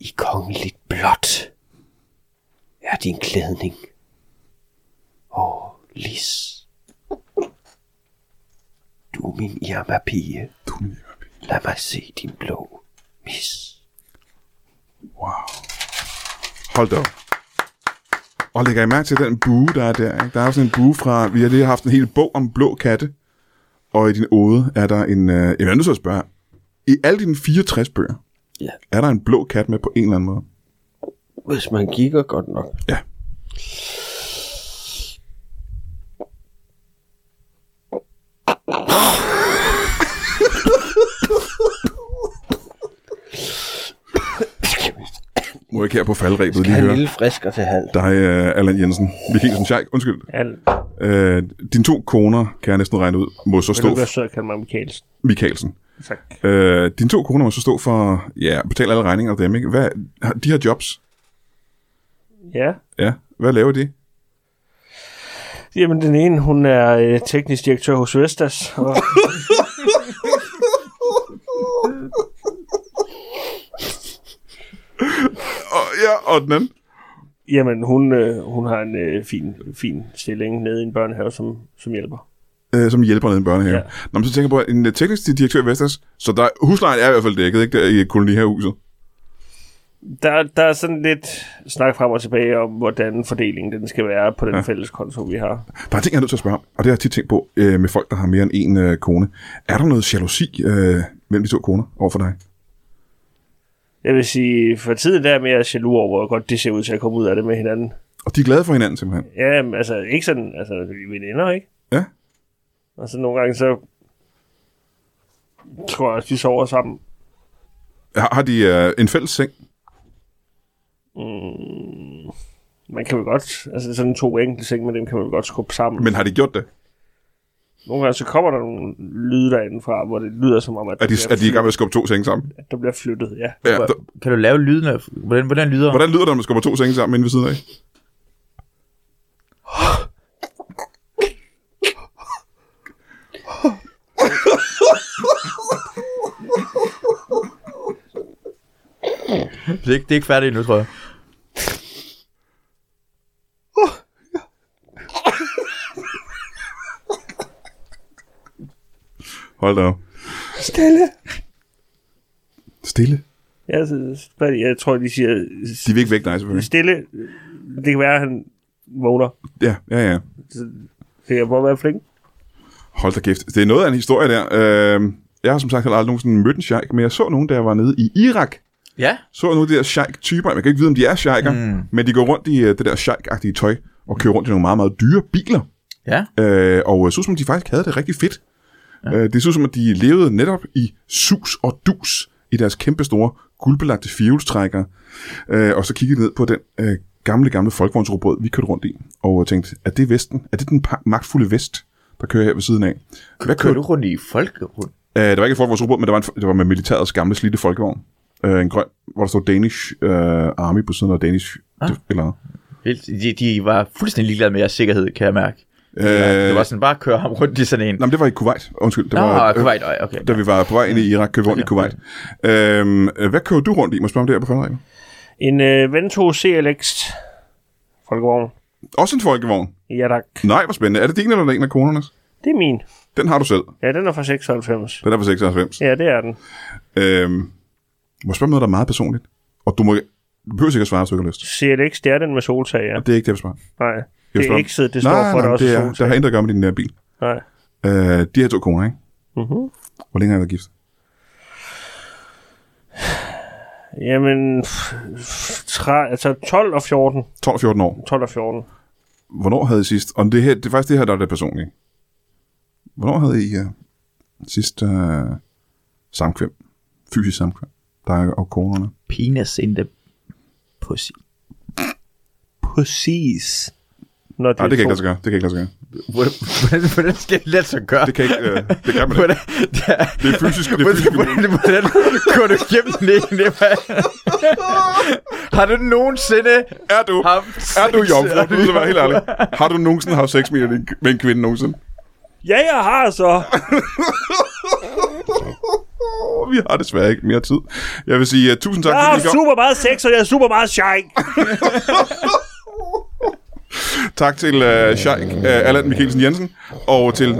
I kongeligt blåt er din klædning. Åh, Lis. Du er min Irma-pige.
Du er min Irma, pigen.
Lad mig se din blå mis.
Wow. Hold da op. Og lægger I mærke til den bue, der er der? Ikke? Der er jo sådan en bue fra... Vi har lige haft en hel bog om blå katte. Og i din ode er der en... Øh, jamen, jeg er nødt til at spørge. I alle dine 64 bøger,
Ja.
er der en blå kat med på en eller anden måde?
Hvis man kigger godt nok.
Ja. Må jeg ikke her på faldrebet lige
Kan en
høre
lille frisker til halv.
dig, uh, Allan Jensen. Vikingsen Scheik, undskyld.
Al,
Uh, dine to koner, kan jeg næsten regne ud, må så
vil
stå
du være
for
sød at kalde mig Michaelsen?
Michaelsen.
Tak.
Uh, dine to koner må så stå for, ja, betal alle regninger af dem, ikke? Hvad, har- de har jobs,
Ja.
ja. Hvad laver de?
Jamen, den ene, hun er øh, teknisk direktør hos Vestas, og
Og, ja, og den anden?
jamen, hun, øh, hun har en øh, fin, fin stilling nede i en børnehave, som, som hjælper.
øh, som hjælper nede i en børnehave. Ja.
Ja.
Når man så tænker på, at en øh, teknisk direktør i Vestas, så der, huslejen er i hvert fald dækket, ikke der i kolonihavehuset.
Der, der er sådan lidt snak frem og tilbage om, hvordan fordelingen den skal være på den ja. fælles konto, vi har.
Der er ting, jeg er nødt til at spørge om, og det har jeg tit tænkt på øh, med folk, der har mere end en øh, kone. Er der noget jalousi øh, mellem de to koner over for dig?
Jeg vil sige, for tiden der er mere jaloux over, hvor godt det ser ud til at komme ud af det med hinanden.
Og de er glade for hinanden simpelthen.
Ja, men altså, ikke sådan, altså, vi er veninder, ikke?
Ja.
Og så nogle gange, så tror jeg også, vi sover sammen.
Har, har de øh, en fælles seng?
Man kan jo godt, altså sådan to enkelte ting med dem, kan man jo godt skubbe sammen.
Men har de gjort det?
Nogle gange, så kommer der nogle lyde derindefra, hvor det lyder som om, at
Er de,
der,
er
bliver
de i gang med at skubbe to senge sammen?
flyttet, der bliver flyttet, ja.
Ja, der,
Kan du lave lyden af... Hvordan, hvordan lyder
hvordan lyder det, når man skubber to senge sammen inde ved siden af?
Det er ikke, det er ikke færdigt endnu, tror jeg.
Hold da op.
Stille!
Stille.
Ja, så, hvad er det? jeg tror, de siger,
De vil ikke vække dig, selvfølgelig.
stille, det kan være, at han vågner.
Ja, ja, ja.
Så jeg må være flink.
Hold da kæft. Det er noget af en historie der. Øh, jeg har som sagt heller aldrig nogensinde mødt en sheik, men jeg så nogen, der var nede i Irak,
Ja.
så nogle af de der sheik-typer. Man kan ikke vide, om de er sheiker, mm. men de går rundt i øh, det der sheik-agtige tøj og øh, kører rundt i nogle meget, meget dyre biler.
Ja.
Øh, og jeg synes, som de faktisk havde det rigtig fedt. Ja. Øh, det så ud som, at de levede netop i sus og dus i deres kæmpe store guldbelagte firehjulstrækkere. Øh, og så kiggede jeg ned på den øh, gamle, gamle folkevognsrobot, vi kørte rundt i, og tænkte, er det Vesten? Er det den pa- magtfulde Vest, der kører her ved siden af? Hvad
Kører du rundt i folk?
Øh, det var ikke en folkevognsrobot, men det var, en, det var med militærets gamle slidte folkevogn. Øh, en grøn, hvor der stod Danish øh, Army på siden af Danish... Ah. Eller,
Helt- De, de var fuldstændig ligeglade med jeres sikkerhed, kan jeg mærke.
øh,
Ja, det var
var...
sådan, bare køre ham rundt i sådan en.
Nej, men det var i Kuwait. Undskyld. Det
Nå,
var,
Nå Kuwait, øh, okay.
Da vi var på vej ind i Irak, kørte vi rundt i Kuwait. Øhm, øh, hvad kører du rundt i? Må jeg spørge om det her på Frederik?
En øh, Vento CLX Folkevogn.
Også en folkevogn.
Ja, tak.
Nej, hvor spændende. Er det din eller en af konernes?
Det er min.
Den har du selv.
Ja, den er fra 96.
Den er fra 96.
Ja, det er den.
Øhm, må jeg spørge om noget, der er meget personligt? Og du må... Du behøver sikkert svare, hvis du ikke har lyst.
CLX, det er den med soltag, ja.
Det er ikke det, jeg vil svare.
Nej,
Jeg vil
det
spørge
er
om-
X'et, det står for, at der også
det
er
er, der
soltag.
har intet at gøre med din uh, bil.
Nej.
Øh, de her to koner, ikke? Mm-hmm.
Mhm.
Hvor længe har I været gift?
Jamen, pff, pff, tre, altså 12 og 14.
12-14 år.
12 og 14.
Hvornår havde I sidst... Og det, her, det er faktisk det her, der er det personlige. Hvornår havde I uh, sidst uh, samkvem? Fysisk samkvem? Dig og konerne?
Penis in the pussy.
Præcis. Når det,
Nej, Ah, det kan ikke
to-
lade sig gøre. Det kan ikke lade sig gøre.
Hvordan, hvordan- hvordan skal det lade sig gøre?
Det kan ikke... Uh, det kan man ikke.
Hvordan, det er,
Det er fysisk. Det er
hvordan,
fysisk.
hvordan, hvordan kunne du gemme den egentlig? mand? Har du nogensinde
Er du,
haft
er du
sex?
jomfru?
Er
Det vil jeg være helt ærlig. Har du nogensinde haft sex med en, med en kvinde nogensinde?
Ja, jeg har så.
Altså, Åh, Vi har desværre ikke mere tid. Jeg vil sige uh, tusind tak,
Jeg
fordi
har
I kom.
super meget sex, og jeg er super meget shy.
Tak til uh, Sheik, uh, Allan Mikkelsen Jensen, og til...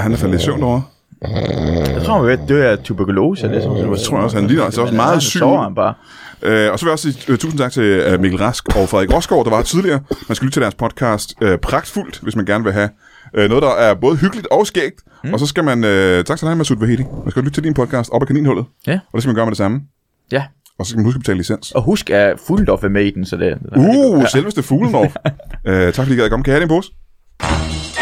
Han er faldet i søvn over.
Jeg tror, man ved, det er tuberkulose. Det, tror
Jeg tror også, han ligner altså også meget syg.
sover han bare.
Øh, og så vil jeg også sige øh, tusind tak til øh, Mikkel Rask og Frederik Rosgaard, der var her tidligere. Man skal lytte til deres podcast øh, Pragtfuldt, hvis man gerne vil have øh, noget, der er både hyggeligt og skægt. Mm. Og så skal man... Øh, tak til dig, Masoud Vahedi. Man skal lytte til din podcast op ad kaninhullet.
Ja.
Og det skal man gøre med det samme.
Ja,
Og så skal man huske at betale licens.
og husk, at Fuldorf er med i den, så det...
Uh, selveste Fuglenov. øh, tak fordi I gad at komme. Kan jeg have det i en pose?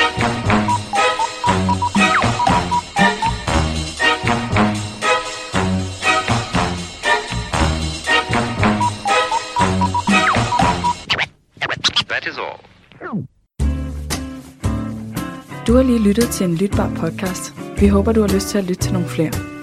That is all.
Du har lige lyttet til en lytbar podcast. Vi håber, du har lyst til at lytte til nogle flere.